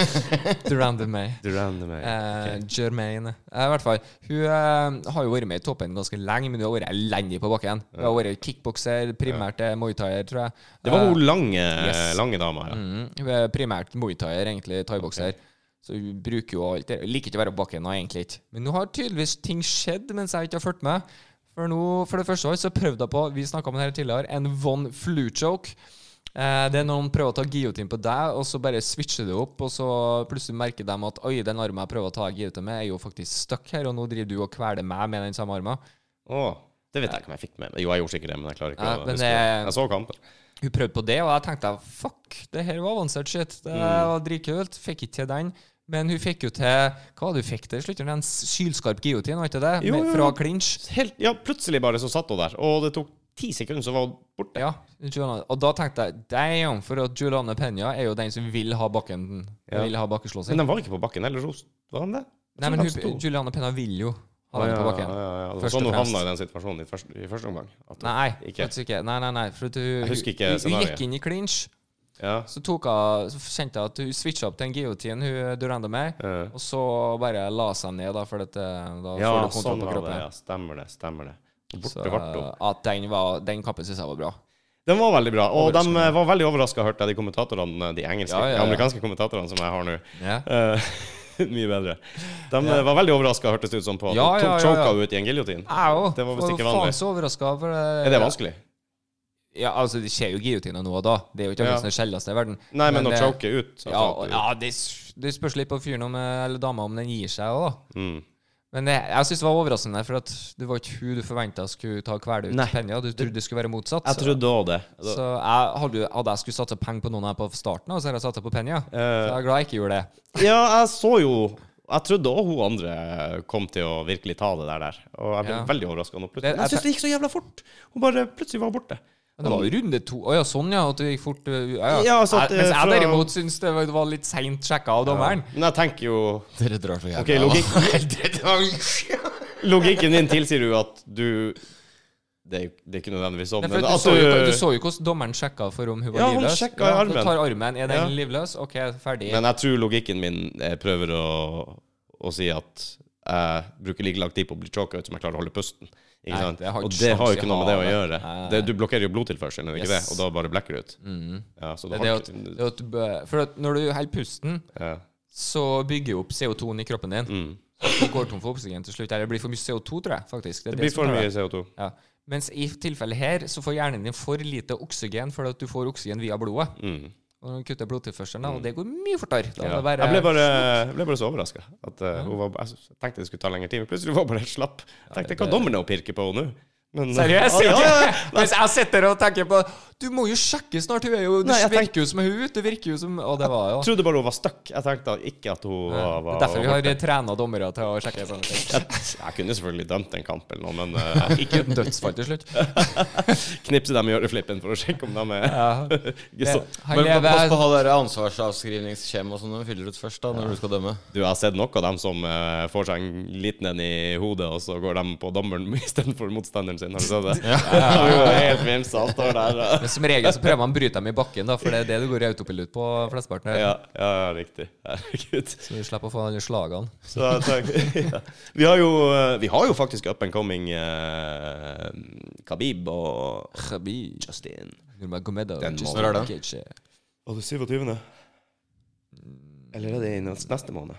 Duran Demay. Duran Duran, Eh, ok. Jermaine. Eh, I hvert fall. Hun eh, har jo vært med i toppen ganske lenge, men hun har vært elendig på bakken. Hun har vært kickbokser, primært eh, muaythaier, tror jeg. Det var Eh, hun lange, yes. lange dama. Ja. Mm, hun er primært muaythaier, egentlig thaibokser. Så hun bruker jo alt det. Hun Liker ikke å være på bakken, og egentlig ikke. Men nå har tydeligvis ting skjedd mens jeg ikke har fulgt med. For nå, for det første år, så prøvde jeg på Vi snakka om det her tidligere. En von flu-choke. Eh, det er når noen prøver å ta giotin på deg, og så bare switcher det opp, og så plutselig merker de at Oi, den armen jeg prøver å ta giotin med, er jo faktisk stuck her, og nå driver du og kveler meg med den samme armen. Å, det vet jeg ikke om jeg fikk med meg. Jo, jeg gjorde sikkert det, men jeg klarer ikke Ja, å men eh, huske det. det- Jeg så kampen. hun prøvde på det, og jeg tenkte fuck, det her var avansert shit. Det Mm. var dritkult. Fikk ikke til den. Men hun fikk jo til Hva var det hun fikk til? Slutten en sylskarp giotin, var ikke det? Jo, Med- jo, jo. Fra clinch. Helt, ja, plutselig bare så satt hun der, og det tok ti sekunder, så var hun borte. Ja, Juliana. Og da tenkte jeg damn, for at Juliane Penya er jo den som vil ha bakken Ja. Vil ha bakkeslåssing. Men de var ikke på bakken, eller ros- var de det? Nei, men De sto. hun, Juliane Penya vil jo ha den ja, på ja, bakken. ja, ja. Det var Først og sånn hun fremst. havna i den situasjonen i første, i første omgang. At hun Nei, ikke faktisk ikke. Nei, nei, nei. For at hun, husker ikke hun, hun scenarioet. gikk inn i clinch, Ja. så, tok hun, så kjente jeg at hun switcha opp til en giotin, hun Duranda May. eh. Og så bare la seg ned, da, for at, eh, da ja, får du sånn kontroll på var det. kroppen. Ja, stemmer det. Stemmer det. Og Så, eh, Borte ble hun. at den, var, den kampen syns jeg var bra. Den var veldig bra. Og de Overraskende. eh, var veldig overraska, hørte jeg, de kommentatorene, de engelske, Ja, ja, ja. de amerikanske kommentatorene som jeg har nå. Ja. Eh, mye bedre. De eh, var veldig overraska, hørtes det ut som, på at Ja, de tok ja, ja, choka ja. henne ut i en giljotin. Jeg òg. Det var visst ikke Faen vanlig. så overraska. Er det vanskelig? Ja, altså, det skjer jo giljotiner nå og da. Det er jo ikke Ja. akkurat det sjeldneste i verden. Nei, men å det- choke ut altså, eh, Ja, og- at du- ja det, s- det spørs litt på fyren om, eh, eller dama om den gir seg òg, da. Mm. Men det, jeg syns det var overraskende, for at det var ikke hun du forventa skulle ta kvele Nei. ut Penya. Du trodde det skulle være motsatt. Jeg så- trodde òg det. Så jeg, hadde, hadde jeg skulle satse penger på noen her på starten, av, så hadde jeg satsa på Penya. Eh. Så jeg er glad jeg ikke gjorde det. Ja, jeg så jo Jeg trodde òg hun andre kom til å virkelig ta det der. der. Og jeg ble Ja. veldig overraska nå plutselig. Det- Men jeg syns det gikk så jævla fort. Hun bare plutselig var borte. Men det var jo runde to. Å ja, sånn ja. At det gikk fort. uh, Ja, ja. Ja, altså, at, jeg, mens eh, jeg fra- derimot syns det var- det var litt seint sjekka av dommeren. Men jeg tenker jo Dere drar så jævlig Ok, logikk- logikk. Logikken din tilsier jo at du Det er, jo- det er ikke nødvendigvis sånn, Nei, for men du, at så jo, du du så jo hvordan dommeren sjekka for om hun var Ja, han livløs. sjekka i du armen. tar armen. Er den Ja. livløs? OK, ferdig. Men jeg tror logikken min eh, prøver å, å si at jeg bruker like lang tid på å bli choka ut som jeg klarer å holde pusten. Ikke Nei, sant? det har og ikke det har jo sjans i ikke noe med det å havet. gjøre. Nei, nei, Det, du blokkerer jo blodtilførselen, er det ikke Yes. det? Mm. Og da bare blekker du ut. Ja, så du det er har at, ikke det er at, bø- for at når du holder pusten, ja. så bygger jo opp CO2-en i kroppen din. Mm. Så Du går tom for oksygen til slutt. Eller det blir for mye CO2, tror jeg. faktisk Det blir for som tar mye det. CO2. Ja. Mens i tilfellet her så får hjernen din for lite oksygen fordi at du får oksygen via blodet. Mm. Når de kutter blodtilførselen, da, og det går mye fortere. Da, er Ja. det bare, Jeg ble bare, jeg ble bare så overraska. Jeg tenkte det skulle ta lengre tid, men plutselig var hun bare helt slapp. Jeg tenkte, Hva dommer det å pirke på henne nå? Men- Seriøst? Ja, ja, ja. Mens jeg sitter og tenker på Du må jo sjekke snart, hun er jo Du Nei, jeg virker jo som hun ut, du virker jo som Og det var jo Jeg trodde bare hun var stuck. Jeg tenkte ikke at hun Det var, er var derfor vi har trena dommere til å sjekke sånne ting. Jeg kunne selvfølgelig dømt en kamp eller noe, men eh, Ikke et dødsfall til slutt. knipse dem i øreflippen for å sjekke om de er Ja. ikke så. Han Men pa- pass på lever å ha det der ansvarsavskrivningsskjema som de fyller ut først, da, når du skal dømme. Du, jeg har sett nok av dem som eh, får seg en liten en i hodet, og så går de på dommeren istedenfor motstanderen sin. Har du sett det? Ja. Ja, jo, helt vimsa, han står der. eh. Men som regel så prøver man å bryte dem i bakken, da, for det er det du går i autopilot på flesteparten. her. Ja, ja, riktig. Herregud. Så vi slipper å få alle slagene. Så jeg tenker, ja. vi, har jo, eh, vi har jo faktisk up and coming eh, Khabib og Justin. Nurmagomedov, Den Justin må- Når er det? Gaethje. Og det 27. Eller er det i neste, neste måned?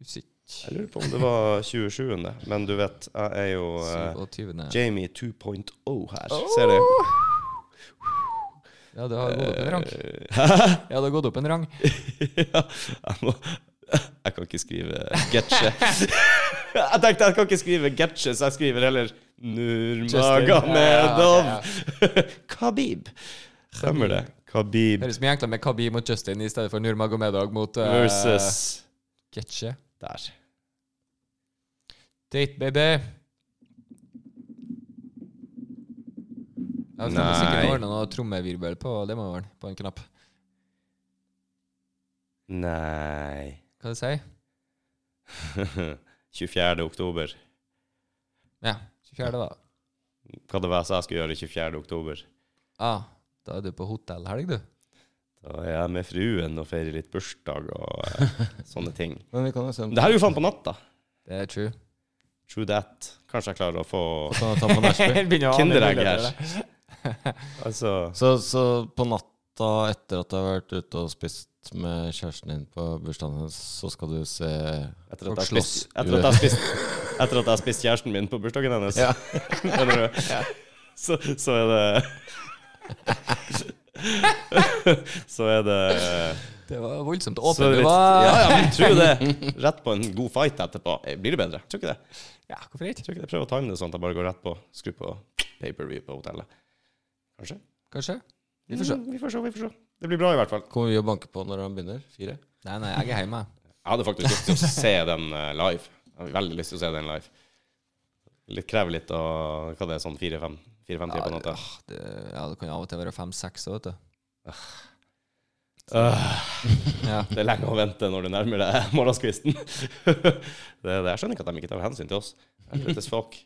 Usikker. Jeg lurer på om det var 27. Men du vet, jeg er jo eh, 27.. Jamie 2.0 her. Ser du? Ja, det har gått opp en rang. Eh, Ja, det har gått opp en rang. ja, jeg må Jeg kan ikke skrive Getche. jeg tenkte jeg kan ikke skrive Getche, så jeg skriver heller Ja, Nurmagomedov. Khabib. Stemmer det. Khabib Høres mye enklere med Khabib mot Justin i stedet for Nurmagomedov mot eh, versus Gaethje. Der. Date, baby. Jeg får Nei. sikkert ordne noe trommevirvel på det må være på en knapp. Nei Hva det sier 24. oktober. Ja, 24. da. Hva det var jeg sa jeg skulle gjøre 24. oktober? Ah, da er du på hotellhelg, du. Da er jeg med fruen og feirer litt bursdag og eh, sånne ting. Men vi kan jo se om Det her er jo faen på natta. Det er true. True that. Kanskje jeg klarer å få Kan jeg ta på nachspiel? kinderegg her. Altså Så, så på natta etter at du har vært ute og spist med kjæresten din på bursdagen hennes, så skal du se Etter Folk at jeg har spist, slåss. etter at jeg har spist, etter at jeg har spist kjæresten min på bursdagen hennes, Ja. Skjønner du? så, så er det Så er det Det var voldsomt så er åpen. det Du litt- var Ja, ja, men tro det. Rett på en god fight etterpå. Eh, Blir det bedre? Tror ikke det. Ja, hvorfor ikke? Tror ikke det. Prøv å time det sånn at jeg bare går rett på. Skru på pay-per-view på hotellet. Kanskje? Kanskje? Vi får se. Mm, Vi får se, vi får se. Det blir bra i hvert fall. Kommer vi og banker på når han begynner? Fire? Nei, nei, jeg er hjemme. jeg. Jeg hadde faktisk lyst til å se den eh, live. Jeg hadde veldig lyst til å se den live. Litt krever litt og hva det er, sånn fire-fem fire, tider på natta. Det, ja, det kan jo av og til være fem-seks òg, vet du. Ja. Det er lenge å vente når du nærmer deg morgenskvisten. det, er det. Jeg skjønner ikke at de ikke tar hensyn til oss. Helvetes folk.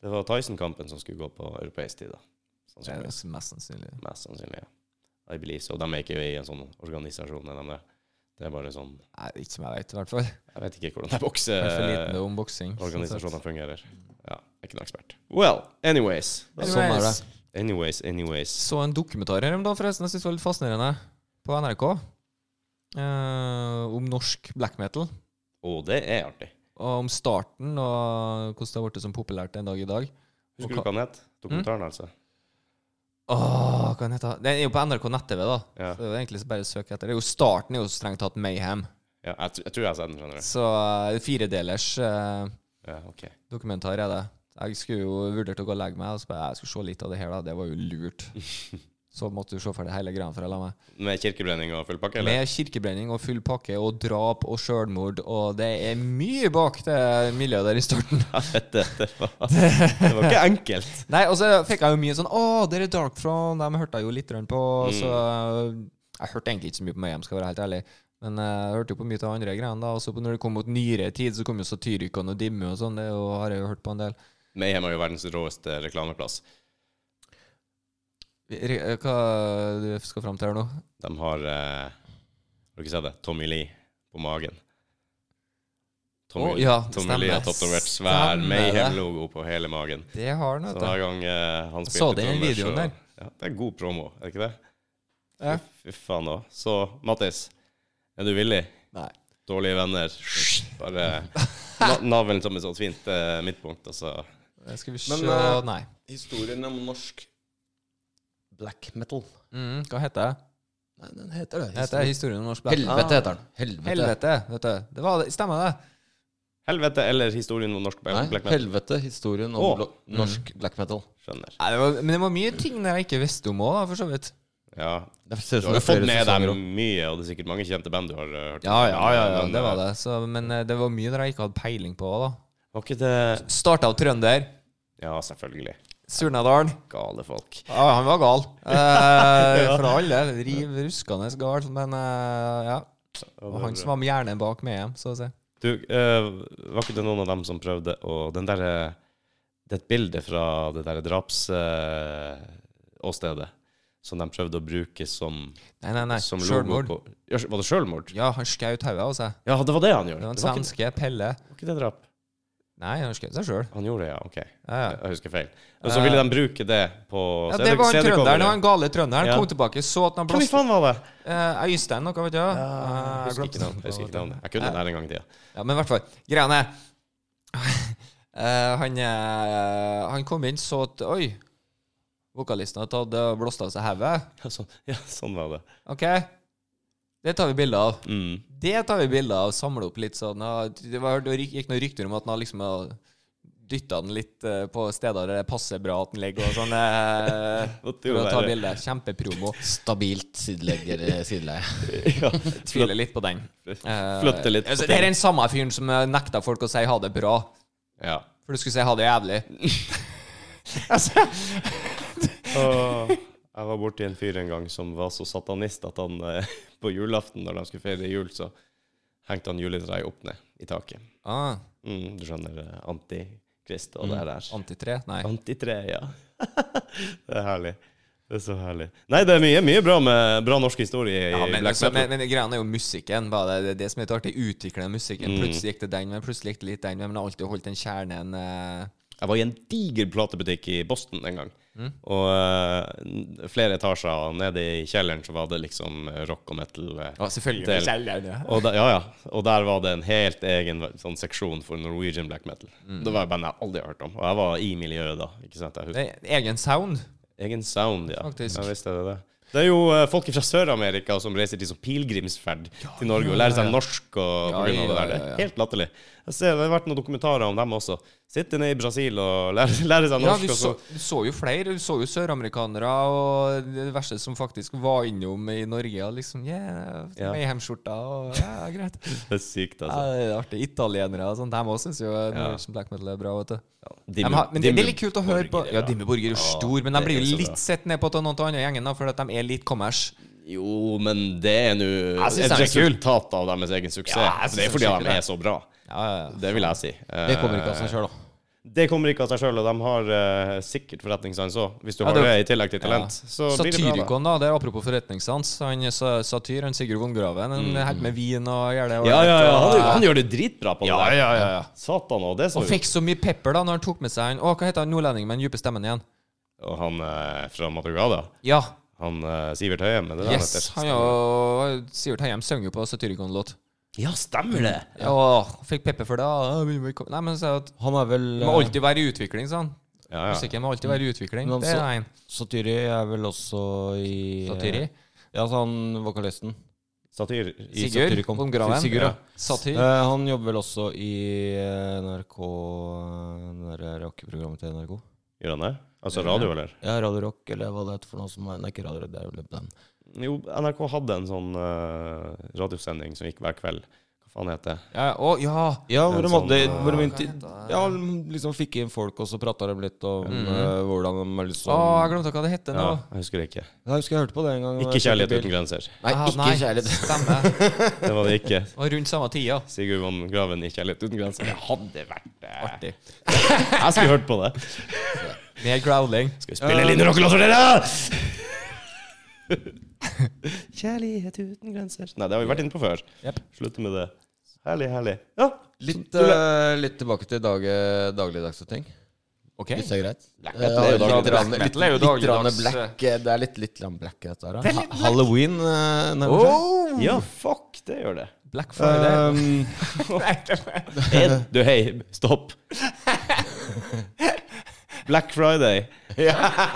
Det var Tyson-kampen som skulle gå på europeisk tid, da. Det er Sannsynligvis. også mest sannsynlig. Mest sannsynlig, ja. I believe so. De er ikke i en sånn organisasjon, er de det? Det er bare sånn Nei, ikke som jeg vet, i hvert fall. Jeg vet ikke hvordan de Jeg er for liten sånn til bokseorganisasjonene omboksing. fungerer. Ja, jeg er ikke noen ekspert. Well, anyways. Sånn er det. Anyways, anyways. Så en dokumentar her om dagen, forresten. Jeg synes det var litt fascinerende. På NRK. Eh, om norsk black metal. Og det er artig. Og om starten, og hvordan det har blitt så populært en dag i dag. Husker du hva den het? Mm. Dokumentaren, altså. Åh, hva den heter Den er jo på NRK nett-TV, da. Ja. Så det er jo egentlig bare å søke etter. Det er jo starten er jo strengt tatt mayhem. Ja, jeg, tr- jeg tror jeg har sett den, skjønner du. Så eh, firedelers eh, Ja, ok. dokumentar er det. Jeg skulle jo vurdert å gå og legge meg, og så bare jeg skulle se litt av det her, da. Det var jo lurt. Så måtte du se ferdig hele greia for å la meg. Med kirkebrenning og full pakke, eller? Med kirkebrenning og full pakke og drap og sjølmord, og det er mye bak det miljøet der i starten. Ja, dette, det, var, det var ikke enkelt. Nei, og så fikk jeg jo mye sånn Å, dere Dark Throne, dem hørte jeg jo litt grann på. Så jeg hørte egentlig ikke så mye på Mayhem, skal jeg være helt ærlig. Men eh, jeg hørte jo på mye av de andre greiene. da Og så på- når det kom mot nyere tid, så kom jo Satyricon og Dimmu og sånn. Det er jo, har jeg jo hørt på en del. Mayhem er jo verdens råeste reklameplass. Re- eh, Hva du skal fram til her nå? De har eh, Har du ikke sett det? Tommy Lee på magen. Tommy, Å, ja, Tommy stemmer. Lee har tatovert Stemmer svær det. Mayhem-logo på hele magen. Det har han, Så vet hver du. gang eh, han Jeg spilte så det i den trommer, videoen så- der. Ja, det er god promo, er det ikke det? Ja. Fy- Fy faen òg. Så Mattis, er du villig? Nei. Dårlige venner. Bare na navlen som et sånt fint eh, midtpunkt, og så Skal vi se Men, eh, Nei. Historien om norsk black metal. Mm, hva heter det? Nei, den heter det. Dette er historien om norsk black. Helvete heter den. Helvete. Helvete, vet du. Det var, stemmer det. Helvete eller historien om norsk Nei, black black metal? helvete historien om Å. blo- norsk black metal. Skjønner. Nei, det var, men det var mye ting der jeg ikke visste om òg, for så vidt. Ja. Det ser ut Du som har jo det er fått flere med deg sesonger også. mye, og det er sikkert mange kjente band du har eh, hørt. Ja, ja, ja, ja, Men, det var eh, det. Så, men eh, det var mye der jeg ikke hadde peiling på òg, da. Var ikke det Starta av trønder. Ja, selvfølgelig. Surnadalen. Gale folk. Ja, han var gal. Eh, for all del. Riv ruskende gal. Men eh, ja. Og han som var med hjernen bak med hjem, så å si. Du, eh, var ikke det noen av dem som prøvde å Den derre Det er et bilde fra det derre drapsåstedet som de prøvde å bruke som, Nei, nei, nei. som logo Sjølmord. på ja, Var det sjølmord? Ja, han skjøt hodet av seg. Ja, det var det han gjorde. Det var en Det var ikke, svenske, Pelle. var ikke det drap. Nei, han skjøt seg sjøl. Han gjorde det, ja. OK. Ja, ja. Jeg husker feil. Og så ville de bruke det på Eh, Ja, det var han trønderen, det var han gale trønderen. Ja. Kom tilbake, så at han Hvem i blåste faen var det? eh, Øystein noe, vet du. Ah, Eh, Jeg husker glemte ikke navnet. Jeg, husker ikke navnet. jeg kunne det der en gang i tida. Ja, men i hvert fall. Greia er eh, han, eh, han kom inn, så at Oi, vokalisten hadde tatt eh, blåst av seg hodet. Ja, sånn, ja, sånn var det. OK, det tar vi bilde av. Mm. Det tar vi bilde av. Samle opp litt sånn. ja, Det var, det gikk noen rykter om at han har liksom dytta den litt eh, på steder der det passer bra at den ligger, og sånn. eh, Måtte jo for å ta være- bilde. Kjempepromo. Stabilt sidelegg eller sideleie. Ja, Tviler litt på den. Eh, Flytte litt på altså, ting. det er den samme fyren som eh, nekta folk å si ha det bra. ja. For du skulle si ha det jævlig. altså, Og jeg var borti en fyr en gang som var så satanist at han eh, på julaften, når de skulle feire jul, så hengte han juletreet opp ned i taket. ah, Mm, du skjønner eh, antikrist og Mm. det der. antitre? Nei. Antitre, ja. det er herlig. Det er så herlig. Nei, det er mye, mye bra med bra norsk historie i Ja, men, black altså, metal. men, men greia er jo musikken. Bare det, det, er det som er litt artig, utvikle musikken. Plutselig gikk det den veien, plutselig gikk det litt den veien, men jeg har alltid holdt den kjernen eh, Jeg var i en diger platebutikk i Boston en gang. Mm. Og eh, n- flere etasjer og nede i kjelleren så var det liksom eh, rock og metal. eh, Ja, selvfølgelig. del. Kjelleren, ja. Og, der, ja, ja. og der var det en helt egen sånn seksjon for Norwegian black metal. Mm. Det var et band jeg aldri har hørt om. Og jeg var i miljøet da. ikke sant? Jeg husker. Det er Egen sound. Egen sound, ja. Faktisk. Ja, visst er det det. Det er jo eh, folk fra Sør-Amerika som reiser til som pilegrimsferd til Norge og lærer seg norsk og Ja, på grunn av det ja, der. Det ja, ja. er helt latterlig. Jeg ser, det har vært noen dokumentarer om dem også. Sitte nede i Brasil og lære, lære seg Ja, norsk. du og så så, du så jo flere. Du så jo søramerikanere og det verste som faktisk var innom i Norge. Og liksom, yeah, Ja. Mayhem-skjorta og ja, greit. Det er sykt, Ja, altså. det er artig. Italienere og sånn. De òg syns jo Norwegian black metal er bra. vet du De Dimmu- har, Men det, det er litt kult å høre på. Dimmuborger, Ja, Dimmu Borger er jo stor, men de det blir er sånn, jo så litt bra. sett ned på av noen av andre gjengen da, fordi at de er litt kommers. Jo, men det er nå Jeg synes et den er kul. resultat av deres egen suksess. Ja, jeg synes det er fordi den de er skikkelig er så bra. Ja, ja, ja. Det vil jeg si. Eh, Det kommer ikke av seg sjøl, da. Det kommer ikke av seg sjøl, og de har eh, sikkert forretningssans òg. Hvis du Ja, har det- det i tillegg til talent, så blir det bra. da. Satyrikon, da. Det er apropos forretningssans. Han er sa- satyr, han Sigurd Vongraven, han helt med vin og gjør det og Mm. Ja, ja, ja. og- Han, han gjør det dritbra på det Ja, der. ja, ja, ja. Satan òg, det er så Og fikk så mye pepper da når han tok med seg han Å, hva heter han nordlendingen med den dype stemmen igjen? Og han eh, fra Madrugada, Ja. han eh, Sivert Høyem, er det det han Yes. heter? Han og Sivert Heim synger jo på Satyrikon-låt. Ja, stemmer det! Åh, fikk pepper for det. Åh, vil vi komme- Nei, men så at Han er vel Det må alltid være i utvikling, sa han. Ja, ja. Musikken må alltid være i utvikling. Men Det er så- en Satyri eh, er vel også i eh, satyri. Ja, så han vokalisten. Satyr. I, Sig- Sigurd Satyricon. von Graven. Sigurd, ja. Satyr. Eh, han jobber vel også i eh, NRK eh, Det der rockeprogrammet til NRK. gjør han det? Altså radio, eller? Ja, Radio Rock, eller hva det heter for noe som er Nei, ikke Radio Rock, det er vel den. Jo, NRK hadde en sånn eh, radiosending som gikk hver kveld. Hva faen heter det? Ja, å, ja. Ja, En hvor de sånn, hadde eh, hvor de hva inter- heter det? Ja, de liksom fikk inn folk, og så prata de litt om eh, hvordan de er liksom Å, jeg glemte hva det heter nå. Ja, jeg husker det ikke. Jeg husker jeg hørte på det en gang. Ikke Kjærlighet uten grenser. Nei, Ah, ikke kjærlighet. Stemmer. Det var det ikke. Og rundt samme tida. Sigurd von Graven i Kjærlighet uten grenser. Det hadde vært eh, Artig. Jeg skulle hørt på det. Mer growling. Skal vi spille Line Rockelås for dere? Kjærlighet uten grenser. Nei, det har vi vært inne på før. Jep. Slutte med det. Herlig, herlig. Ja. Litt, eh, litt tilbake til dag, dagligdagse ting, OK. hvis det er greit. Black Eh, metal er jo litt dagligdags. grann- Black litt- metal er jo litt grann dagligdags, black, eh, Det er litt, litt grann black, dette her. Det er da. litt Ha Halloween eh, nærmer seg. Oh! Ja, fuck, det gjør det. Black Friday. Um, En, du, hei, stopp. Black Friday.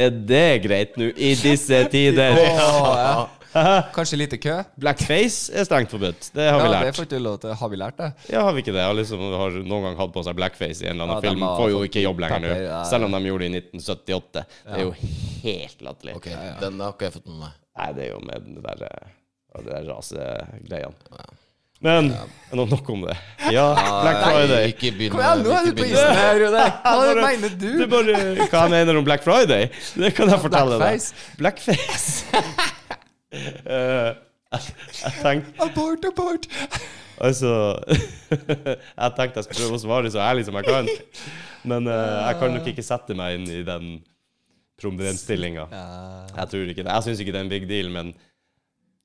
Er det greit nå, i disse tider? Åh, ja. Kanskje lite kø? Blackface er strengt forbudt. Det har Ja, vi det lært. får ikke du lov til. Har vi lært det? Ja, har vi ikke det? Og liksom har noen gang hatt på seg blackface i en eller annen Ja, de film. har Får jo fått ikke jobb lenger nå. pepper, altså ja. Selv om de gjorde det i 1978. Det er jo helt latterlig. Ok, Den har ikke jeg fått med meg. Nei, det er jo med den der, eh, det der rasegreiene. Men nå nok om det. Ja, Black Nei, Friday. ikke begynn Kom igjen, med- nå er ikke du på begynn isen med- her, Rune. Hva Bare- mener du? Du bare, hva jeg mener om Black Friday? Det kan jeg fortelle Blackface. deg. Blackface. Eh, jeg, jeg tenkte Abort, abort. Altså Jeg tenkte jeg skulle prøve å svare så ærlig som jeg kan. Men eh, jeg kan nok ikke sette meg inn i den problemstillinga. Jeg tror ikke det. Jeg syns ikke det er en big deal, men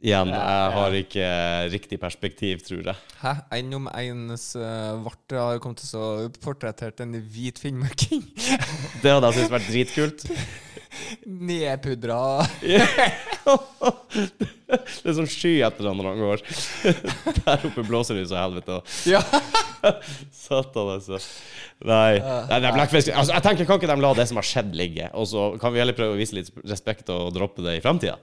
igjen, jeg har ikke riktig perspektiv, tror jeg. Hæ? En om ens uh, vart har kommet til å portrettert en hvit finnmarking. Det hadde jeg syntes vært dritkult. Nedpudra. Det er som sky etter han når han går. Der oppe blåser det jo så helvete. og Ja. Satan, altså. Nei. Nei, det er blackface. Altså, jeg tenker, Kan ikke de la det som har skjedd, ligge? Og så kan vi heller prøve å vise litt respekt og droppe det i framtida?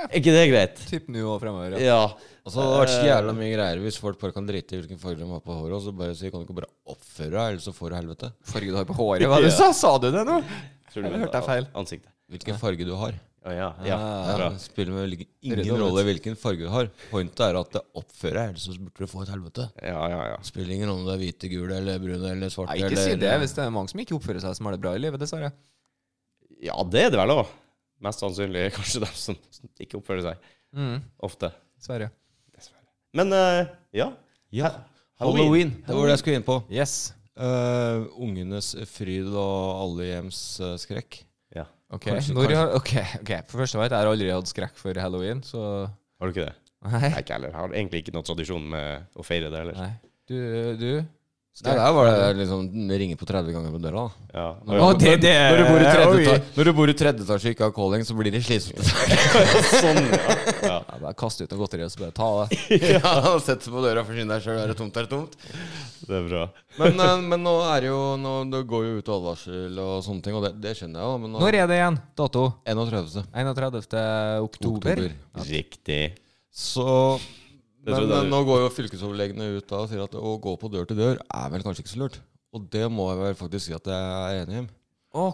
Er ikke det greit? Typ nå og fremover. Ja. Ja. Og så hadde det vært så jævla mye greier hvis folk bare kan drite i hvilken farge de har på håret, og så bare si kan du ikke bare oppføre deg, eller så får du helvete. Farge du har på håret, hva du sa? Sa du det nå? Tror du Jeg mente hørte deg feil. Ah. Ansiktet. Hvilken farge du har. Å ja. ja. Ja, Bra. det spiller med hvilken, Rydda ingen opp. rolle hvilken farge du har. Pointet er at det oppfører deg, ellers så burde du få et helvete. Ja, ja, ja. Spiller ingen rolle om du er hvite, gule eller brune eller svarte. Nei, ikke eller, si det hvis det er mange som ikke oppfører seg som har det bra i livet, dessverre. Ja, det er det vel òg. Mest sannsynlig er kanskje dem som ikke oppfører seg. Mm. Ofte. Dessverre. Men eh, ja. ja. Halloween. Det var det jeg skulle inn på. Yes. Eh, ungenes fryd og alle hjems eh, skrekk. Ja. Ok, Kanskje- Når kanskje- har, ok, ok, for første gang, jeg har aldri hatt skrekk for halloween, så Har du ikke det? Nei. Jeg, ikke heller. jeg har egentlig ikke noen tradisjon med å feire det heller. Nei. Du, du? Nei, der var det liksom ringe på 30 ganger på døra, da. Ja. Å, det, det Når du bor i tredje Eh, Oi. etasje- når du bor i tredje etasje og ikke har calling, så blir de slitsomme. Sånn, ja. ja. Ja, bare kast ut noe godteri og så bare ta det. ja, og setter på døra og forsyner deg sjøl. Er det tomt, er det tomt. Det er bra. Men, eh, men nå er det jo Nå det går jo ut advarsel og sånne ting, og det, det skjønner jeg jo. Men nå, Når er det igjen? Dato? 31. 31. oktober. oktober. Riktig. Så Det Men trodde jeg eh, du- nå går jo fylkesoverlegene ut da og sier at å gå på dør til dør er vel kanskje ikke så lurt. Og det må jeg vel faktisk si at jeg er enig i. Å,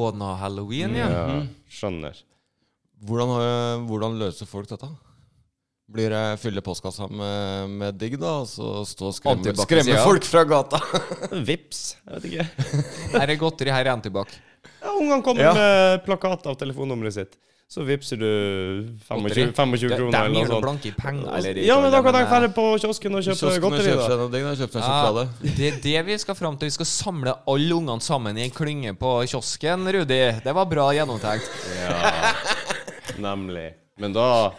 korona-halloween, ja. Mhm. Ja, skjønner. Hvordan, har- hvordan løser folk dette? Blir det fylle postkassa med, med digg, da? Og så stå og skremme, Antibac i skremme siden. folk fra gata? Vips, jeg vet ikke. Her er godteri, her er antibac. Ja, Ungene kommer Ja. med plakat av telefonnummeret sitt. Så vipser du 25, 25 De, kroner eller de gir noe noe sånt. blanke i penger, eller Ja, men da kan de men, eh, dra på kiosken og kjøpe Kiosken og godteri. kjøpe da. seg noe digg. da, Kjøpe seg en Ja, sjokolade. det er det vi skal fram til. Vi skal samle alle ungene sammen i en klynge på kiosken, Rudi. Det var bra gjennomtenkt. Nemlig. Men da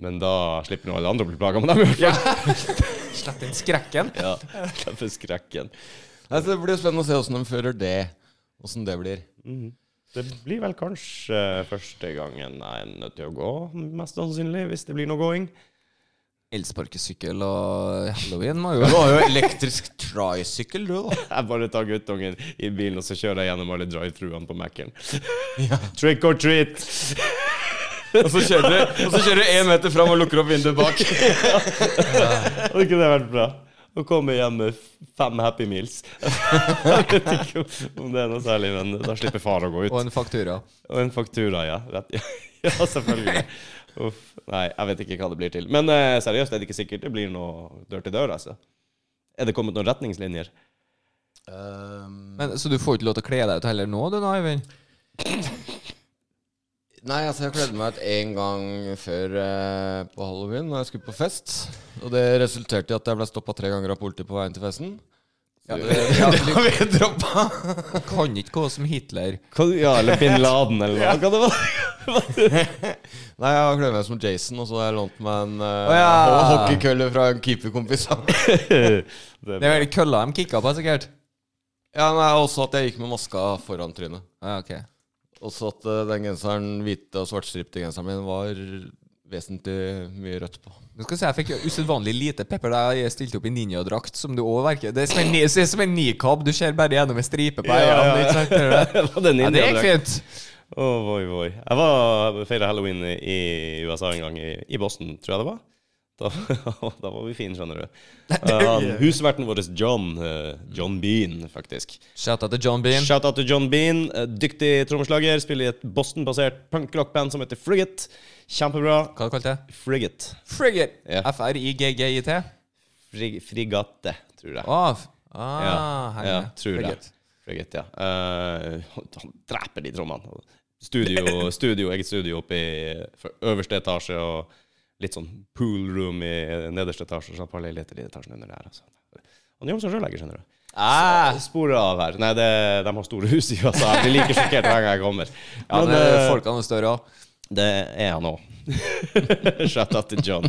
men da slipper nå alle andre å bli plaga med dem. i hvert fall. Slett den skrekken. Ja. Derfor skrekken. Nei, så det blir spennende å se åssen de fører det. Åssen det blir. Det blir vel kanskje første gangen jeg er nødt til å gå, mest sannsynlig, hvis det blir noe gåing. Elsparkesykkel og halloween må jo Du har jo elektrisk tricycle, du, da. Jeg bare tar guttungen i bilen, og så kjører jeg gjennom alle drive-thruene på Mac-en. Trick or treat! Og så kjører du- og så kjører du én meter fram og lukker opp vinduet bak. Hadde ikke det vært bra? Å komme hjem med fem Happy Meals. Jeg vet ikke om det er noe særlig, men da slipper far å gå ut. Og en faktura. Og en faktura, ja. Rett. Ja, selvfølgelig. Uff. Nei, jeg vet ikke hva det blir til. Men eh, seriøst, er det ikke sikkert det blir noe dør til dør, altså? Er det kommet noen retningslinjer? Men, så du får ikke lov til å kle deg ut heller nå, du, da, Eivind? Nei, altså jeg kledde meg ut én gang før eh, på halloween når jeg skulle på fest. Og det resulterte i at jeg ble stoppa tre ganger av politiet på veien til festen. Ja, Så- ja, det har vi droppa. Du kan ikke gå som Hitler. ja, eller Bin Laden, eller hva det var. Nei, jeg har kledd meg som Jason, og så har jeg lånt meg en eh, ja. ho- hockeykølle fra en keeperkompis. Det er vel kølla de kicka på, sikkert. ja, nei, også at jeg gikk med maska foran trynet. Ja, ok. Og så at eh, den genseren, hvite og svartstripte genseren min var vesentlig mye rødt på. Nå skal jeg si jeg fikk usedvanlig lite pepper da jeg stilte opp i ninjadrakt, som du òg verker. Det er som en, ni- det er som en nikab, du ser bare gjennom en stripe på Ja, ja, øynene. ja. ikke sant? Det er det. Det var den Ja, det gikk indianeren. fint. Oh, voi, voi. Jeg var feira halloween i i USA en gang, i, i Boston, tror jeg det var. Da, da var vi fine, skjønner du. Eh, han- Husverten vår, John, eh, John Bean, faktisk. Shout out til John Bean. Shout-out til John Bean. eh, Dyktig trommeslager. Spiller i et Boston-basert punkrockband som heter Frigate. Kjempebra. Hva kalte du det? Frigate. Frigate. Ja. F-R-I-G-G-I-T. Frig Frigate, tror jeg. Av. Ah, her ja, er det. tror jeg. Frigate. Frigate, ja. Eh, han dreper de trommene. Studio, studio, eget studio oppe i for øverste etasje og litt sånn pool room i nederste etasje. Så han har leiligheter i etasjen under der. Altså. Han jobber som rørlegger, skjønner du. Ah, Sporet av her. Nei, det, de har store hus i USA. Jeg blir like sjokkert hver gang jeg kommer. ja, Men, men, eh, folkene er større òg. det er han òg. Shout out til John.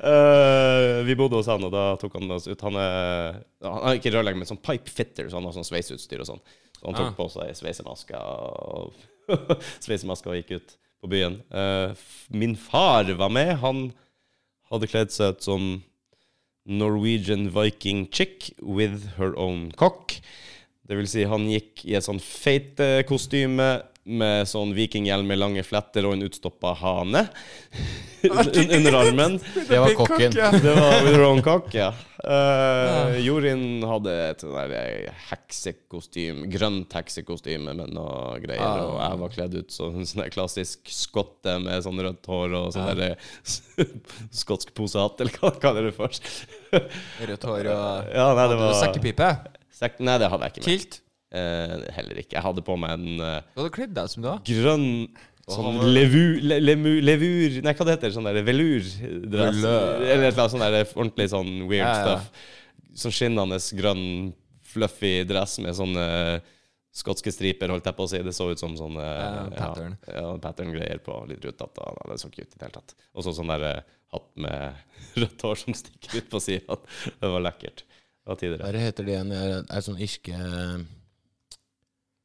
Eh, vi bodde hos han, og da tok han oss ut. Han er, han er ikke rørlegger, men sånn pipefitter, så han har sånn sveiseutstyr og sånn. Så han tok Ah. på seg sveisemaska og, sveisemaska og gikk ut på byen. Eh, f- min far var med. Han hadde kledd seg ut som Norwegian Viking chick with her own cock. Det vil si, han gikk i et sånn feitekostyme med sånn vikinghjelm med lange fletter og en utstoppa hane un- under armen. Det var kokken. Det var with her own cock, ja. Eh, Jorin hadde et sånn der heksekostyme, grønt heksekostyme med noe greier, Ah. og jeg var kledd ut som en sånn der klassisk skotte med sånn rødt hår og sånn der skotsk posehatt, eller hva kaller du det for? Rødt hår og Ja, nei, det Hadde du var Sekkepipe? Sekk- Nei, det hadde jeg ikke med. Kilt? Eh, heller ikke. Jeg hadde på meg en eh, Du hadde kledd deg som du var. grønn sånn levu, le, lemu- levur Nei, hva det heter Sånn der velurdress. Velur. Eller et eller annet sånn der ordentlig sånn weird Ja, ja. stuff. Sånn skinnende grønn fluffy dress med sånne skotske striper, holdt jeg på å si. Det så ut som sånne Ja, pattern. Ja, ja, pattern-greier på litt rutete. Ja, det så ikke ut i det hele tatt. Og så sånn der eh, hatt med rødt hår som stikker ut på sida. Det var lekkert. Det var tider. Hva er det heter det igjen? Er det er det sånn irske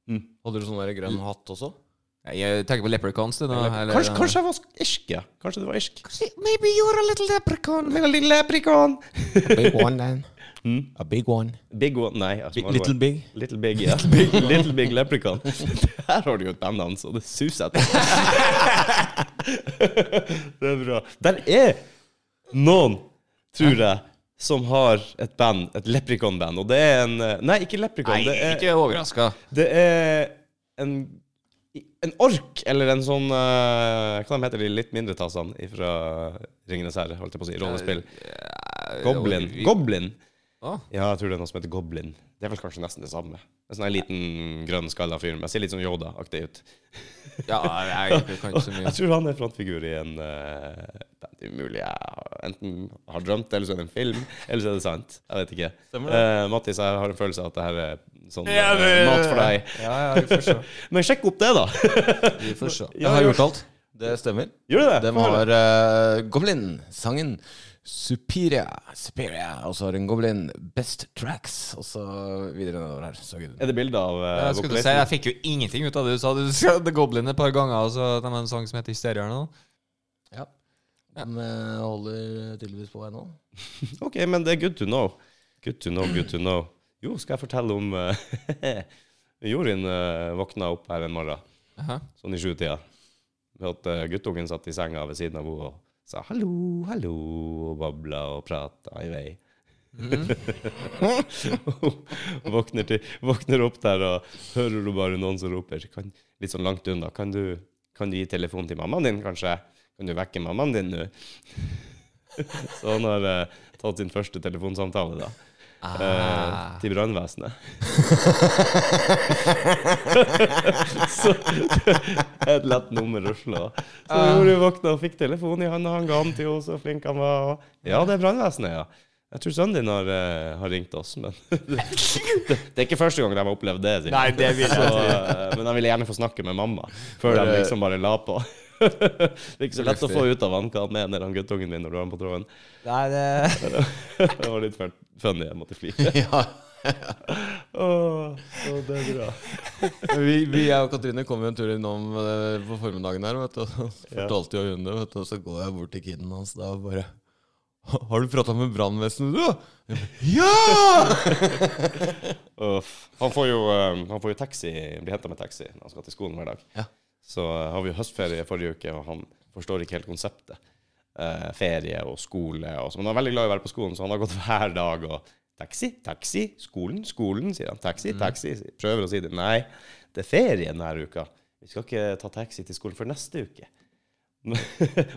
Mm. Hadde du sånn der grønn hatt også? Nei, Jeg tenker på leprechauns, du nå. eller- Kanskje, kanskje jeg var sk- irsk, ja. Kanskje det var irsk. Maybe you're a little leprechaun. Little leprechaun. A big one, then. Hmm? A big one. Big one, nei. ja, small one. big. Little Big, ja. Little Big, Leprechaun. Der har du jo et bandnavn, så det suser etter. det er bra. Der er noen, tror jeg, som har et band, et leprechaun-band. Og det er en eh, Nei, ikke leprechaun. Det Nei, er, ikke overraska. det er en en ork, eller en sånn eh, Hva de heter de litt mindre tassene fra Ringenes herre, holdt jeg på å si, rollespill? Goblin. Goblin. Å. Ja, jeg tror det er noe som heter goblin. Det er vel kanskje nesten det samme. En sånn her liten grønn skalla fyr. Men jeg ser litt sånn Yoda-aktig ut. Ja, jeg, jeg kan ikke så mye. Jeg tror han er frontfigur i en eh, Det er umulig jeg enten har drømt, eller så er det en film, eller så er det sant. Jeg vet ikke. Eh, Mattis, jeg har en følelse av at det her er sånn Ja, det- eh, mat for deg. Ja, ja, vi får se. Men sjekk opp det, da! Vi får se. Ja, ja. alt. Det stemmer. Gjør du det? De Få høre. har eh, Goblin, sangen Superior, Superior, og så har den Goblin Best Tracks, og så videre nedover her. Så gud. Er det bilde av eh, Jeg skulle si, vokalisten? jeg fikk jo ingenting ut av det du sa. Du sa The Goblin et par ganger, og så de har en sang som heter Hysteria nå. Ja. Den eh, holder tydeligvis på ennå. Ok, men det er good to know. Good to know, good to know. Jo, skal jeg fortelle om eh, Jorin eh, våkna opp her en morgen, Aha. sånn i sjutida, med at eh, guttungen satt i senga ved siden av henne og sa hallo, hallo, og babla og prata i vei. våkner, til, våkner opp der og hører du bare noen som roper kan, litt sånn langt unna. Kan du, kan du gi telefonen til mammaen din, kanskje? Kan du vekke mammaen din nå? Så han har eh, tatt sin første telefonsamtale, da. Eh, til brannvesenet. så et lett nummer å slå. Så Ah. Jorunn våkna og fikk telefon i handa, han ga den til henne, så flink han var. og- Ja, det er brannvesenet, ja. Jeg tror sønnen din har, eh, har ringt oss, men det, det er ikke første gang de har opplevd det. sier Nei, det vil jeg Så, eh, men de ville gjerne få snakke med mamma, før de liksom bare la på. det er ikke så lett å få ut av han hva han mener, han guttungen min, når du har han på tråden. Nei, det Det var litt fun- funny. Jeg måtte flire. ja. Åh, åh, det er bra. Vi, vi, jeg og Katrine kom jo en tur innom eh, på formiddagen her, vet du. og Så fortalte jo hun det, vet du. Og så går jeg bort til kiden hans da og bare «Ha- Har du prata med brannvesenet, du? Ja! Uff. Han får jo, eh, han får jo taxi, blir henta med taxi når han skal til skolen hver dag. Ja. Så eh, har vi jo høstferie forrige uke, og han forstår ikke helt konseptet. Eh, ferie og skole og sånn. Men han er veldig glad i å være på skolen, så han har gått hver dag og Taxi, taxi, skolen, skolen, sier han. Taxi, taxi. sier- Prøver å si det. Nei, det er ferie denne uka. Vi skal ikke ta taxi til skolen før neste uke.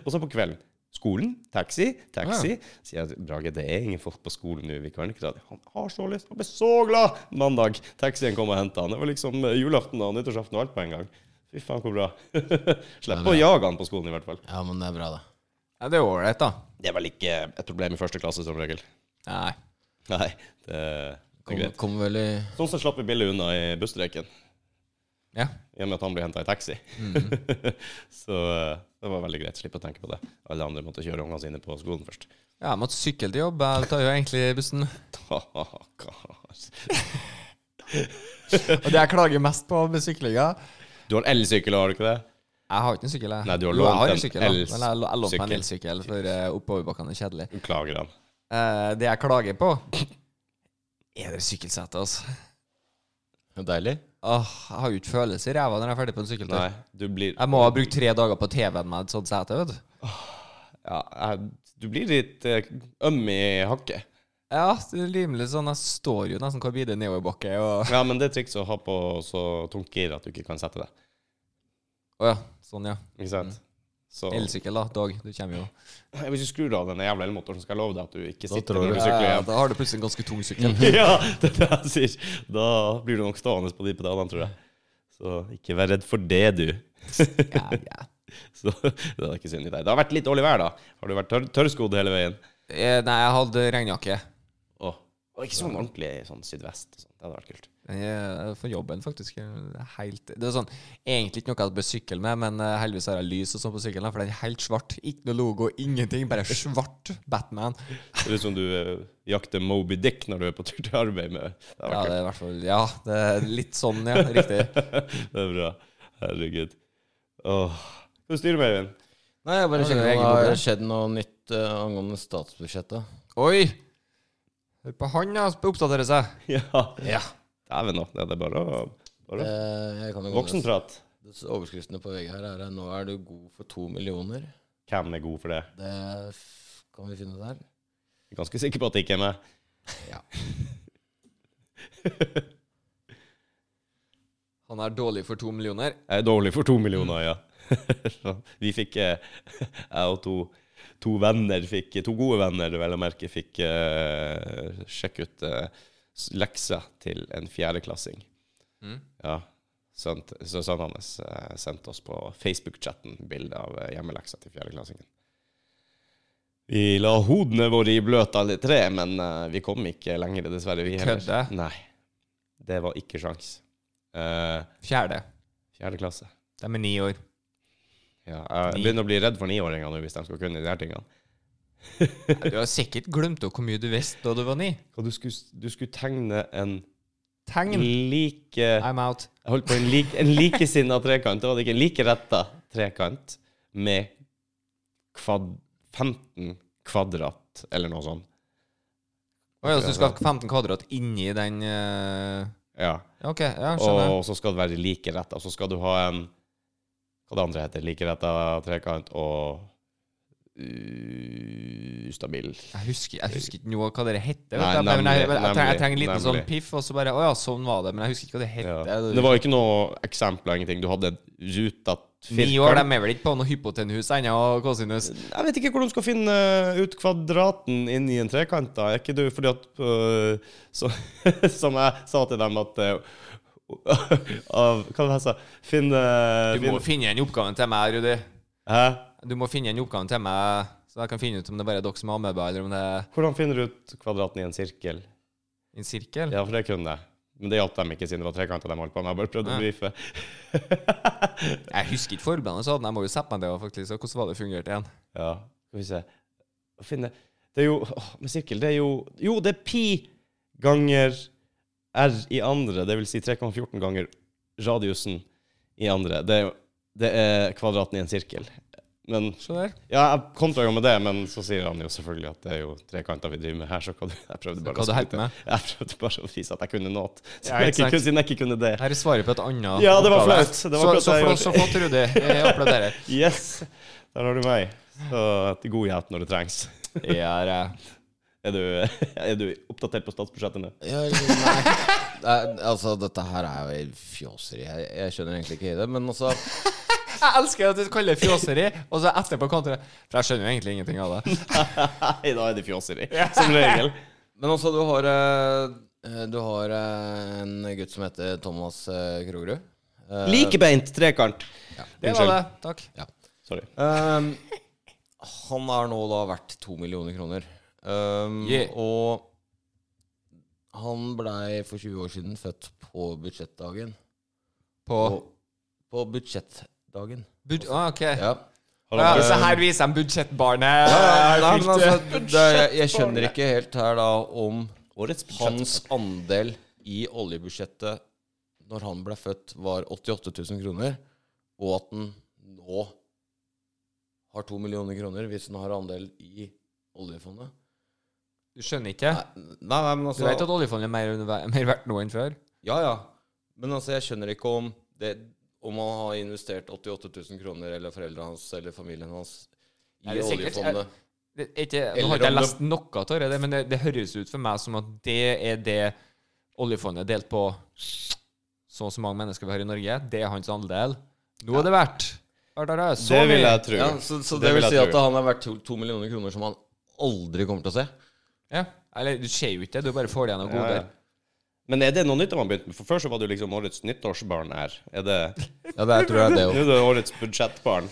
og så på kvelden. Skolen, taxi, taxi. Sier jeg Brage, det er ingen folk på skolen nå. Vi kan ikke dra dit.» Han har så lyst. Han ble så glad mandag. Taxien kom og henta han. Det var liksom eh, julaften og nyttårsaften og alt på en gang. Fy faen, hvor bra. Slipp å jage han på skolen, i hvert fall. Ja, men det er bra, det. Ja, det er ålreit, da. Det er vel ikke et problem i første klasse, som regel. Nei. Nei, det, det er Kommer greit. kom vel i Sånn sett slapp vi billig unna i busstreiken, Ja. i og med at han ble henta i taxi. Mhm. så eh, det var veldig greit. Slipp å tenke på det. Alle andre måtte kjøre ungene sine på skolen først. Ja, jeg måtte sykle til jobb. Jeg tar jo egentlig bussen. Stakkars. Og det jeg klager mest på med syklinga Du har elsykkel, har du ikke det? Jeg har ikke en sykkel, jeg. Nei, du har Jo, jeg lånt har en en sykkel, da. el- Men jeg lå- jeg lånte meg en sykkel. elsykkel, for eh, oppoverbakkene er kjedelig. Beklager han. Eh, det jeg klager på, er det sykkelsetet, altså. Deilig. Åh, jeg har jo ikke følelse i ræva når jeg er ferdig på en sykkeltur. Nei, du blir Jeg må ha brukt tre dager på TV-en med et sånt sete, vet du. ja, jeg, Du blir litt eh, øm i hakket. Ja, det er rimelig sånn. Jeg står jo nesten hvor videre nedoverbakke og Ja, men det er triks å ha på så tungt gir at du ikke kan sette deg. Å ja. Sånn, ja. Ikke sant? Så eh, Elsykkel, da. Dag. Du kommer jo hvis du skrur av den jævla elmotoren, så skal jeg love deg at du ikke Da sitter tror når jeg- du sykler Mhm. Ja, igjen. Da har du plutselig en ganske tung sykkel. ja, det er det jeg sier. Da blir du nok stående på de pedalene, tror jeg. Så ikke vær redd for det, du. Ja, ja. Så det er ikke synd i deg. Det har vært litt dårlig vær, da. Har du vært tørr, tørrskodd hele veien? Eh, Nei, jeg hadde regnjakke. Åh. Og ikke sånn ordentlig sånn sydvest. og sånt. Det hadde vært kult. Den er eh, For jobben, faktisk. Helt, det er sånn, Egentlig ikke noe jeg bør sykle med, men eh, heldigvis har jeg lys og sånn på sykkelen, for den er helt svart. Ikke noe logo, ingenting. Bare svart Batman. Det er ut som du eh, jakter Moby Dick når du er på tur til arbeid med Det hadde Ja, vært det er i hvert fall Ja, det er litt sånn, ja. Riktig. kult. Det er bra. Herregud. Åh. Hva styrer du med, Eivind? Nei, jeg Ja, bare det er sjekker om egentlig det har bra. skjedd noe nytt eh, angående statsbudsjettet. Oi! Hør på han, ja. som Oppdaterer seg. Ja. Eh, Ja. Dæven, nå. Det er bare å bare å- Eh, Jeg kan jo gå ned. Voksenprat. Overskriftene på VG her er eh, 'Nå er du god for to millioner'. Hvem er god for det? Det f- kan vi finne der. Jeg er ganske sikker på at det ikke er meg. Han er dårlig for to millioner. Jeg er dårlig for to millioner, ja. Så Vi fikk eh, Jeg og to, to venner fikk To gode venner, vel å merke, fikk eh, sjekke ut eh, s- lekser til en fjerdeklassing. Mm. Ja. Sønt, så sønnen hans eh, sendte oss på Facebook-chatten bilde av eh, hjemmeleksa til fjerdeklassingen. Vi la hodene våre i bløt alle tre, men eh, vi kom ikke lenger, dessverre. Vi heller. Kødde? Nei. Det var ikke sjans. Eh, Fjerde. Fjerde klasse. De er ni år. Ja, jeg begynner å bli redd for niåringer nå, hvis de skal kunne de her tingene. Nei, Du har sikkert glemt hvor mye du visste da du var ni. Hva, Du skulle, du skulle tegne en Tegn. like I'm out. Jeg holdt på en, lik, en likesinna trekant. Det var det ikke en likeretta trekant med kvad, 15 kvadrat, eller noe sånt. Å ja, så altså, du skal ha 15 kvadrat inni den eh, Ja. ja, OK, ja, skjønner. Og så skal det være likeretta. Og så skal du ha en Hva det andre heter? Likeretta trekant og uh, ustabil. Jeg husker, jeg husker ikke noe hva det heter. Nei, Vet du. men jeg, nemlig, jeg, trenger, jeg trenger en liten nemlig, sånn piff, og så bare Å ja, sånn var det. Men jeg husker ikke hva det Ja. heter. Det var ikke noe eksempler, ingenting. Du hadde en ruta Ni år, de er vel ikke på noe hypotenhus ennå, og kosinus. Jeg vet ikke hvor de skal finne ut kvadraten inni en trekant. da. Er ikke du fordi at øh, så, Som jeg sa til dem at øh, av, Hva var det jeg sa? Finn, øh, Du må finn- finne den oppgaven til meg, Rudi. Hæ? Du må finne den oppgaven til meg, så jeg kan finne ut om det bare er dere som har med meg, eller om det er Hvordan finner du ut kvadraten i en sirkel? en sirkel. Ja, for det kunne jeg. Men det hjalp dem ikke, siden det var trekanter de holdt på med. Jeg bare prøvde å Ja. brife. Jeg husker ikke forbandet, så jeg må jo sette meg det, faktisk. Så hvordan var det fungerte igjen? Ja, skal vi se. Å finne Det er jo åh, Med sirkel, det er jo Jo, det er pi ganger r i andre, det vil si 3,14 ganger radiusen i andre. Det er, jo- det er kvadraten i en sirkel. Men Se der. Ja, jeg kontra jo med det, men så sier han jo selvfølgelig at det er jo trekanter vi driver med her, så hva du Jeg prøvde bare hva å du skryte. holdt med? Jeg prøvde bare å vise at jeg kunne noe. Så jeg Ja, ikke ikke sant. kunne, siden jeg ikke kunne det. Her er svaret på et annet Ja, det var oppgave. flaut. Det var Så, flaut jeg så, flott- gjorde. så flott, Rudi. Jeg applauderer. Yes! Der har du meg. Så til god hjelp når det trengs. Jeg er, eh, Er du, er du oppdatert på statsbudsjettene? Ja, eller- nei. Det er, altså, dette her er jo fjåseri. Jeg, jeg skjønner egentlig ikke det, men altså jeg elsker at du kaller det fjåseri, og så etterpå kontra For jeg skjønner jo egentlig ingenting av det. Nei, da er det fjåseri, som regel. Men altså, du har eh, eh, Du har eh, en gutt som heter Thomas eh, Krogerud. Eh, Likebeint trekant. Det var det. Takk. Ja. Sorry. Ehm, han er nå da verdt to millioner kroner. Ehm, Yeah. Og han blei for 20 år siden født på budsjettdagen. På På, på budsjettdagen. bud... Ah, ok. Ja. Har Ja, han så bare, her viser de budsjettbarnet. Nei, men Fikk det. altså, det, jeg skjønner ikke helt her da om årets budsjett hans andel i oljebudsjettet når han ble født, var 88 000 kroner, og at han nå har to millioner kroner hvis han har andel i oljefondet. Du skjønner ikke? Nei, nei, nei, men Du altså vet at oljefondet er mer, mer verdt nå enn før? Ja, ja. Men altså, jeg skjønner ikke om det om han har investert 88 000 kroner, eller foreldrene hans eller familien hans Er i det sikkert- oljefondet. Det, er ikke, nå Eller har ikke jeg om lest noe av det, men det, det høres ut for meg som at det er det oljefondet delt på så og så mange mennesker vi har i Norge. Det er hans andel. Nå er det verdt. Hva er det, det? Så Det vil mye. jeg tro. Ja, så, så Det det, vil vil jeg si at tro. han er verdt to, to millioner kroner som han aldri kommer til å se? Ja. Eller du ser jo ikke det, du bare får det gjennom Ja, goder. ja. Men er det noe nytt han har begynt med? For Før så var det jo liksom årets nyttårsbarn her. Er det Ja, det tror jeg det Nå er det årets budsjettbarn.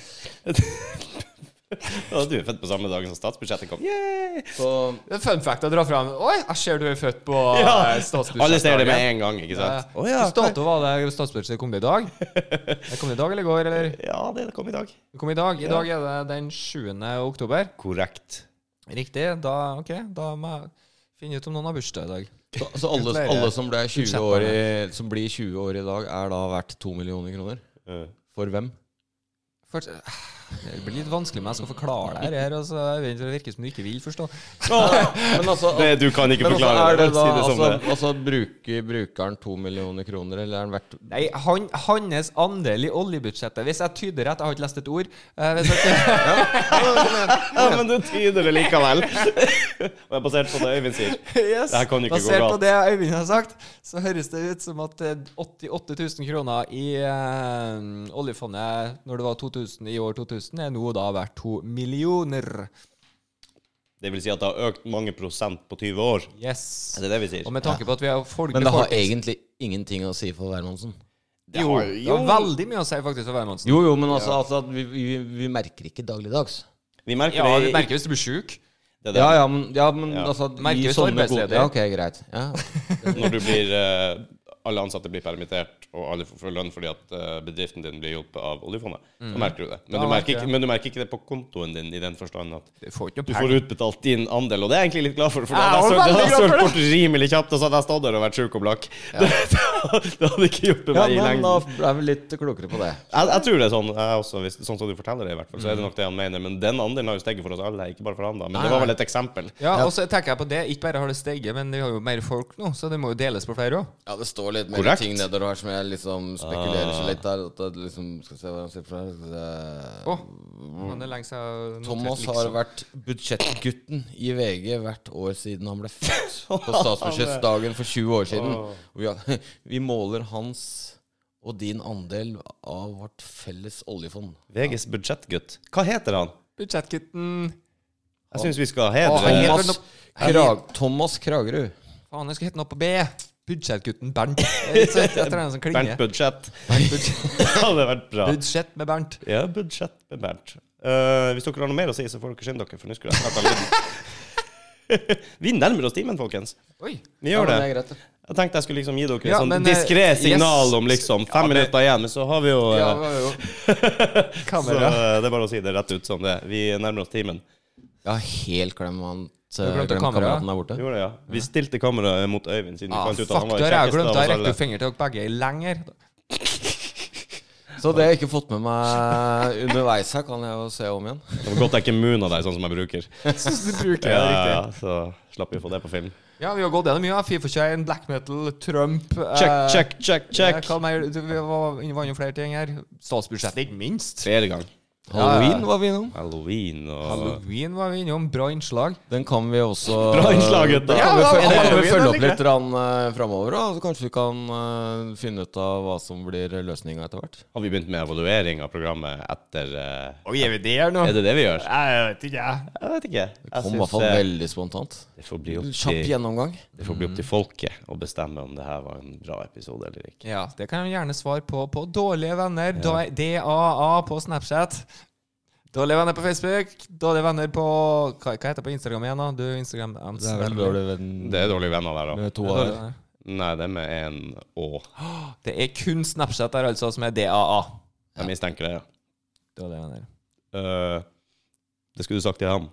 Ja, du er født på samme dagen som statsbudsjettet kom. Yay! Så Det er Fun fact å dra fram. Oi, jeg ser du er født på Ah, eh, statsbudsjettet. Alle ser det med en gang, ikke Ja. sant? Å Hvilken dato var det statsbudsjettet kom det i dag? Det kom det i dag eller i går, eller? Ja, det kom i dag. Det kom i dag. I dag er det den 7. oktober. Korrekt. Riktig. Da, ok, da må jeg finne ut om noen har bursdag i dag. Så, så alle, Gratulerer. alle som, ble 20 år i, som blir 20 år i dag, er da verdt 2 millioner kroner? Ja. For hvem? Først, det blir litt vanskelig om jeg skal forklare det her. Altså, jeg vet ikke, det virker som du ikke vil forstå. Men altså, Det, du kan ikke men altså, forklare er det da, Si det som altså, det. altså bruker brukeren 2 millioner kroner, eller er den verdt Nei, han, hans andel i oljebudsjettet Hvis jeg tyder rett, jeg har ikke lest et ord eh, hvis jeg tyder, Ja, men du tyder det likevel. Og jeg er basert på det Øyvind sier. yes. Det her kan jo ikke gå Basert på galt. det Øyvind har sagt, så høres det ut som at eh, 88 000 kroner i eh, oljefondet når det var 2000 i år 2000, er nå da verdt to millioner. Det vil si at det har økt mange prosent på 20 år. Yes. Er det det vi sier? Og med tanke på at vi har folk Men det har befolkning- egentlig ingenting å si for Wermansen. Det Jo, har- det har veldig mye å si faktisk for Værmannsen. Jo, jo, men altså, altså at vi, vi, vi merker ikke dagligdags. Vi merker Ja, det du i- merker hvis du blir sjuk. det der. Ja, ja, men, ja, men Ja. altså Merker i hvis sånne arbeidsleder. gode- Ja, ok, greit. Ja. Når du blir eh, Alle ansatte blir permittert, og alle får full lønn fordi at eh, bedriften din blir hjulpet av oljefondet, så merker du det. Men Mm. Ja, du merker, merker ikke, jeg. men du merker ikke det på kontoen din i den forstand at Du får ikke du noe får penger. utbetalt din andel, og det er jeg egentlig litt glad for. For det Jeg hadde jeg var søkt- det hadde jeg veldig glad søkt for bort rimelig kjapt, og så hadde jeg stått der og vært sjuk og blakk. Det, det hadde ikke hjulpet ja, meg i men da lengden. ble vi litt klokere på det. Jeg, jeg tror det er sånn, jeg også, hvis, sånn som du forteller det, i hvert fall, så er det nok det han mener. Men den andelen har jo steget for oss alle, ikke bare for han, da. Men Mm. Nei, det var nei. vel et eksempel. Ja, og så tenker jeg på det. Ikke bare har det steget, men vi har jo mer folk nå, så det må jo deles på flere òg. Ja, det står litt mer Korrekt. ting nedover her som jeg liksom spekulerer så litt der. At det liksom, skal vi se hva han sier for her skal vi se. Å, men det er lenge siden jeg noterte Thomas liksom. har vært budsjettgutten i VG hvert år siden han ble født. På statsbudsjettdagen for 20 år siden. Og vi, har, vi måler hans og din andel av vårt felles oljefond. VGs budsjettgutt. Hva heter han? Budsjettgutten Jeg syns vi skal hedre Å, han heter Thomas, noe- Krag, Thomas Kragerud. Faen, jeg skal hete noe på B. Budsjettgutten Bernt. Jeg tror han som Bernt klinger. Budsjett. Budsjett. Det hadde vært bra. Budsjett med Bernt. Ja, budsjett med Bernt. Eh, hvis dere har noe mer å si, så får dere skynde dere, for nå skulle jeg snart ha lyden. Vi nærmer oss timen, folkens. Oi. Vi Ja, gjør men det. det er greit, det. Jeg tenkte jeg skulle liksom gi dere et Ja, sånn men, eh, diskré yes. signal om liksom fem minutter igjen, men så har vi jo eh, Ja, ja, ja. Så Kamera. eh, det er bare å si det rett ut som det er. Vi nærmer oss timen. Jeg har helt glemt han glemte glemt kameraet. kameraten der borte. Gjorde det, ja. Vi stilte kameraet mot Øyvind, siden vi Ah, fant ut fuck, at han var da har jeg kjekkest glemt. av Da oss rekker alle. du fingeren til dere begge lenger. Så det jeg ikke har fått med meg underveis her, kan jeg jo se om igjen. Det var godt jeg ikke moona deg sånn som jeg bruker. Du bruker det Ja, ja, riktig. ja, så slapp vi å få det på film. Ja, vi har gått gjennom mye. ja. Fifa 21, black metal, Trump eh, Check, check, check, ja, check. Hva mer? Du, Vi var inne på flere ting her. Statsbudsjettet, ikke minst. Tredje gang. Ja, ja. Halloween var vi innom. Halloween og Halloween var vi innom. Bra innslag. Den kan vi også Bra innslag, gutter. Den kan vi, Ja, følge- ja, den kan vi Halloween, følge jeg opp liker litt uh, framover. Da. Så kanskje vi kan eh, finne ut av hva som blir løsninga etter hvert. Har vi begynt med evaluering av programmet etter eh, Og gjør vi det her nå? Er det det vi gjør? Jeg vet ikke, jeg. Jeg vet ikke. Jeg Kom i synes, hvert fall eh, veldig spontant. det får bli opp Kjapp til gjennomgang. Det får bli opp til folket å bestemme om det her var en bra episode eller ikke. Ja, det kan jeg gjerne svare på på Dårlige venner, da- DAA på Snapchat. Dårlige venner på Facebook. Dårlige venner på Hva, hva heter det på Instagram igjen, da? Du, Instagram Det er vel dårlig venn Det er dårlige venner der òg. med to her. Nei, det er med en Å. Det er kun Snapchat der, altså, som er DAA. Jeg mistenker det. ja. Dårlige venner. Eh, det skulle du sagt til han.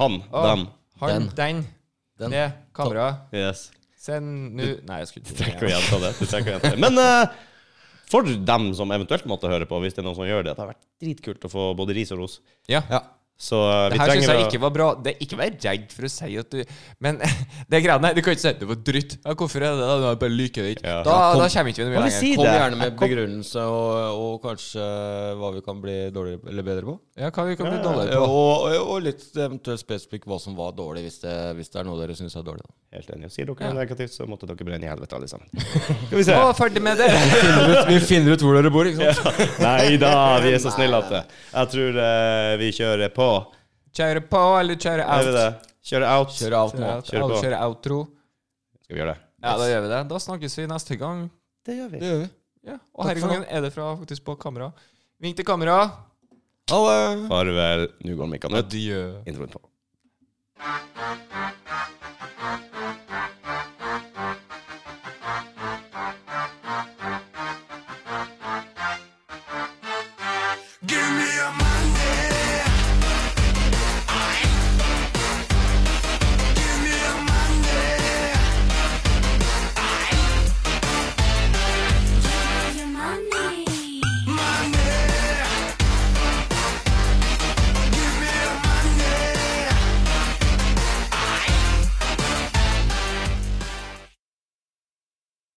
Han. Å. Dem. Han, den, Den. det, kamera. Yes. Send nu Nei, jeg skulle Du trenger ikke å gjenta det. Du trenger ikke å gjenta det. Men eh, for dem som eventuelt måtte høre på, hvis det er noen som gjør det, det har vært dritkult å få både ris og ros. Ja. Så eh, Det vi her syns trenger jeg å ikke var bra. Det er Ikke vær redd for å si at du Men det greiene her, du kan ikke si at det var dritt. Ja, hvorfor er det det? da? Jeg bare liker det ikke. Ja. Da, Ja, kom. da kommer ikke vi noe Hva mye vil lenger. si Kom det? gjerne med begrunnelse og, og kanskje eh, hva vi kan bli dårligere eller bedre på. Ja, hva vi kan bli Eh, dårligere på. Og, og litt eventuelt spesifikt hva som var dårlig, hvis det, hvis det er noe dere syns er dårlig. Da. Helt enig. Sier dere noe negativt, så måtte dere brenne i helvete, alle sammen. Skal vi se. Å, ferdig med det! vi finner ut hvor dere bor, ikke sant? Nei da, vi er så snille at det. Jeg tror eh, vi kjører på. Kjøre på eller kjøre Gjør out? vi det? Kjøre out. Kjør alt Kjøre nå. out. Kjør på. Alle kjører outro. Skal vi gjøre det? Ja, da gjør vi det. Da snakkes vi neste gang. Det gjør vi. Det gjør vi. Ja. Og Takk her i for gangen er det fra faktisk på kamera. Vink til kamera. Ha det. Farvel. Nå går mikken ut. Adjø. Introen på.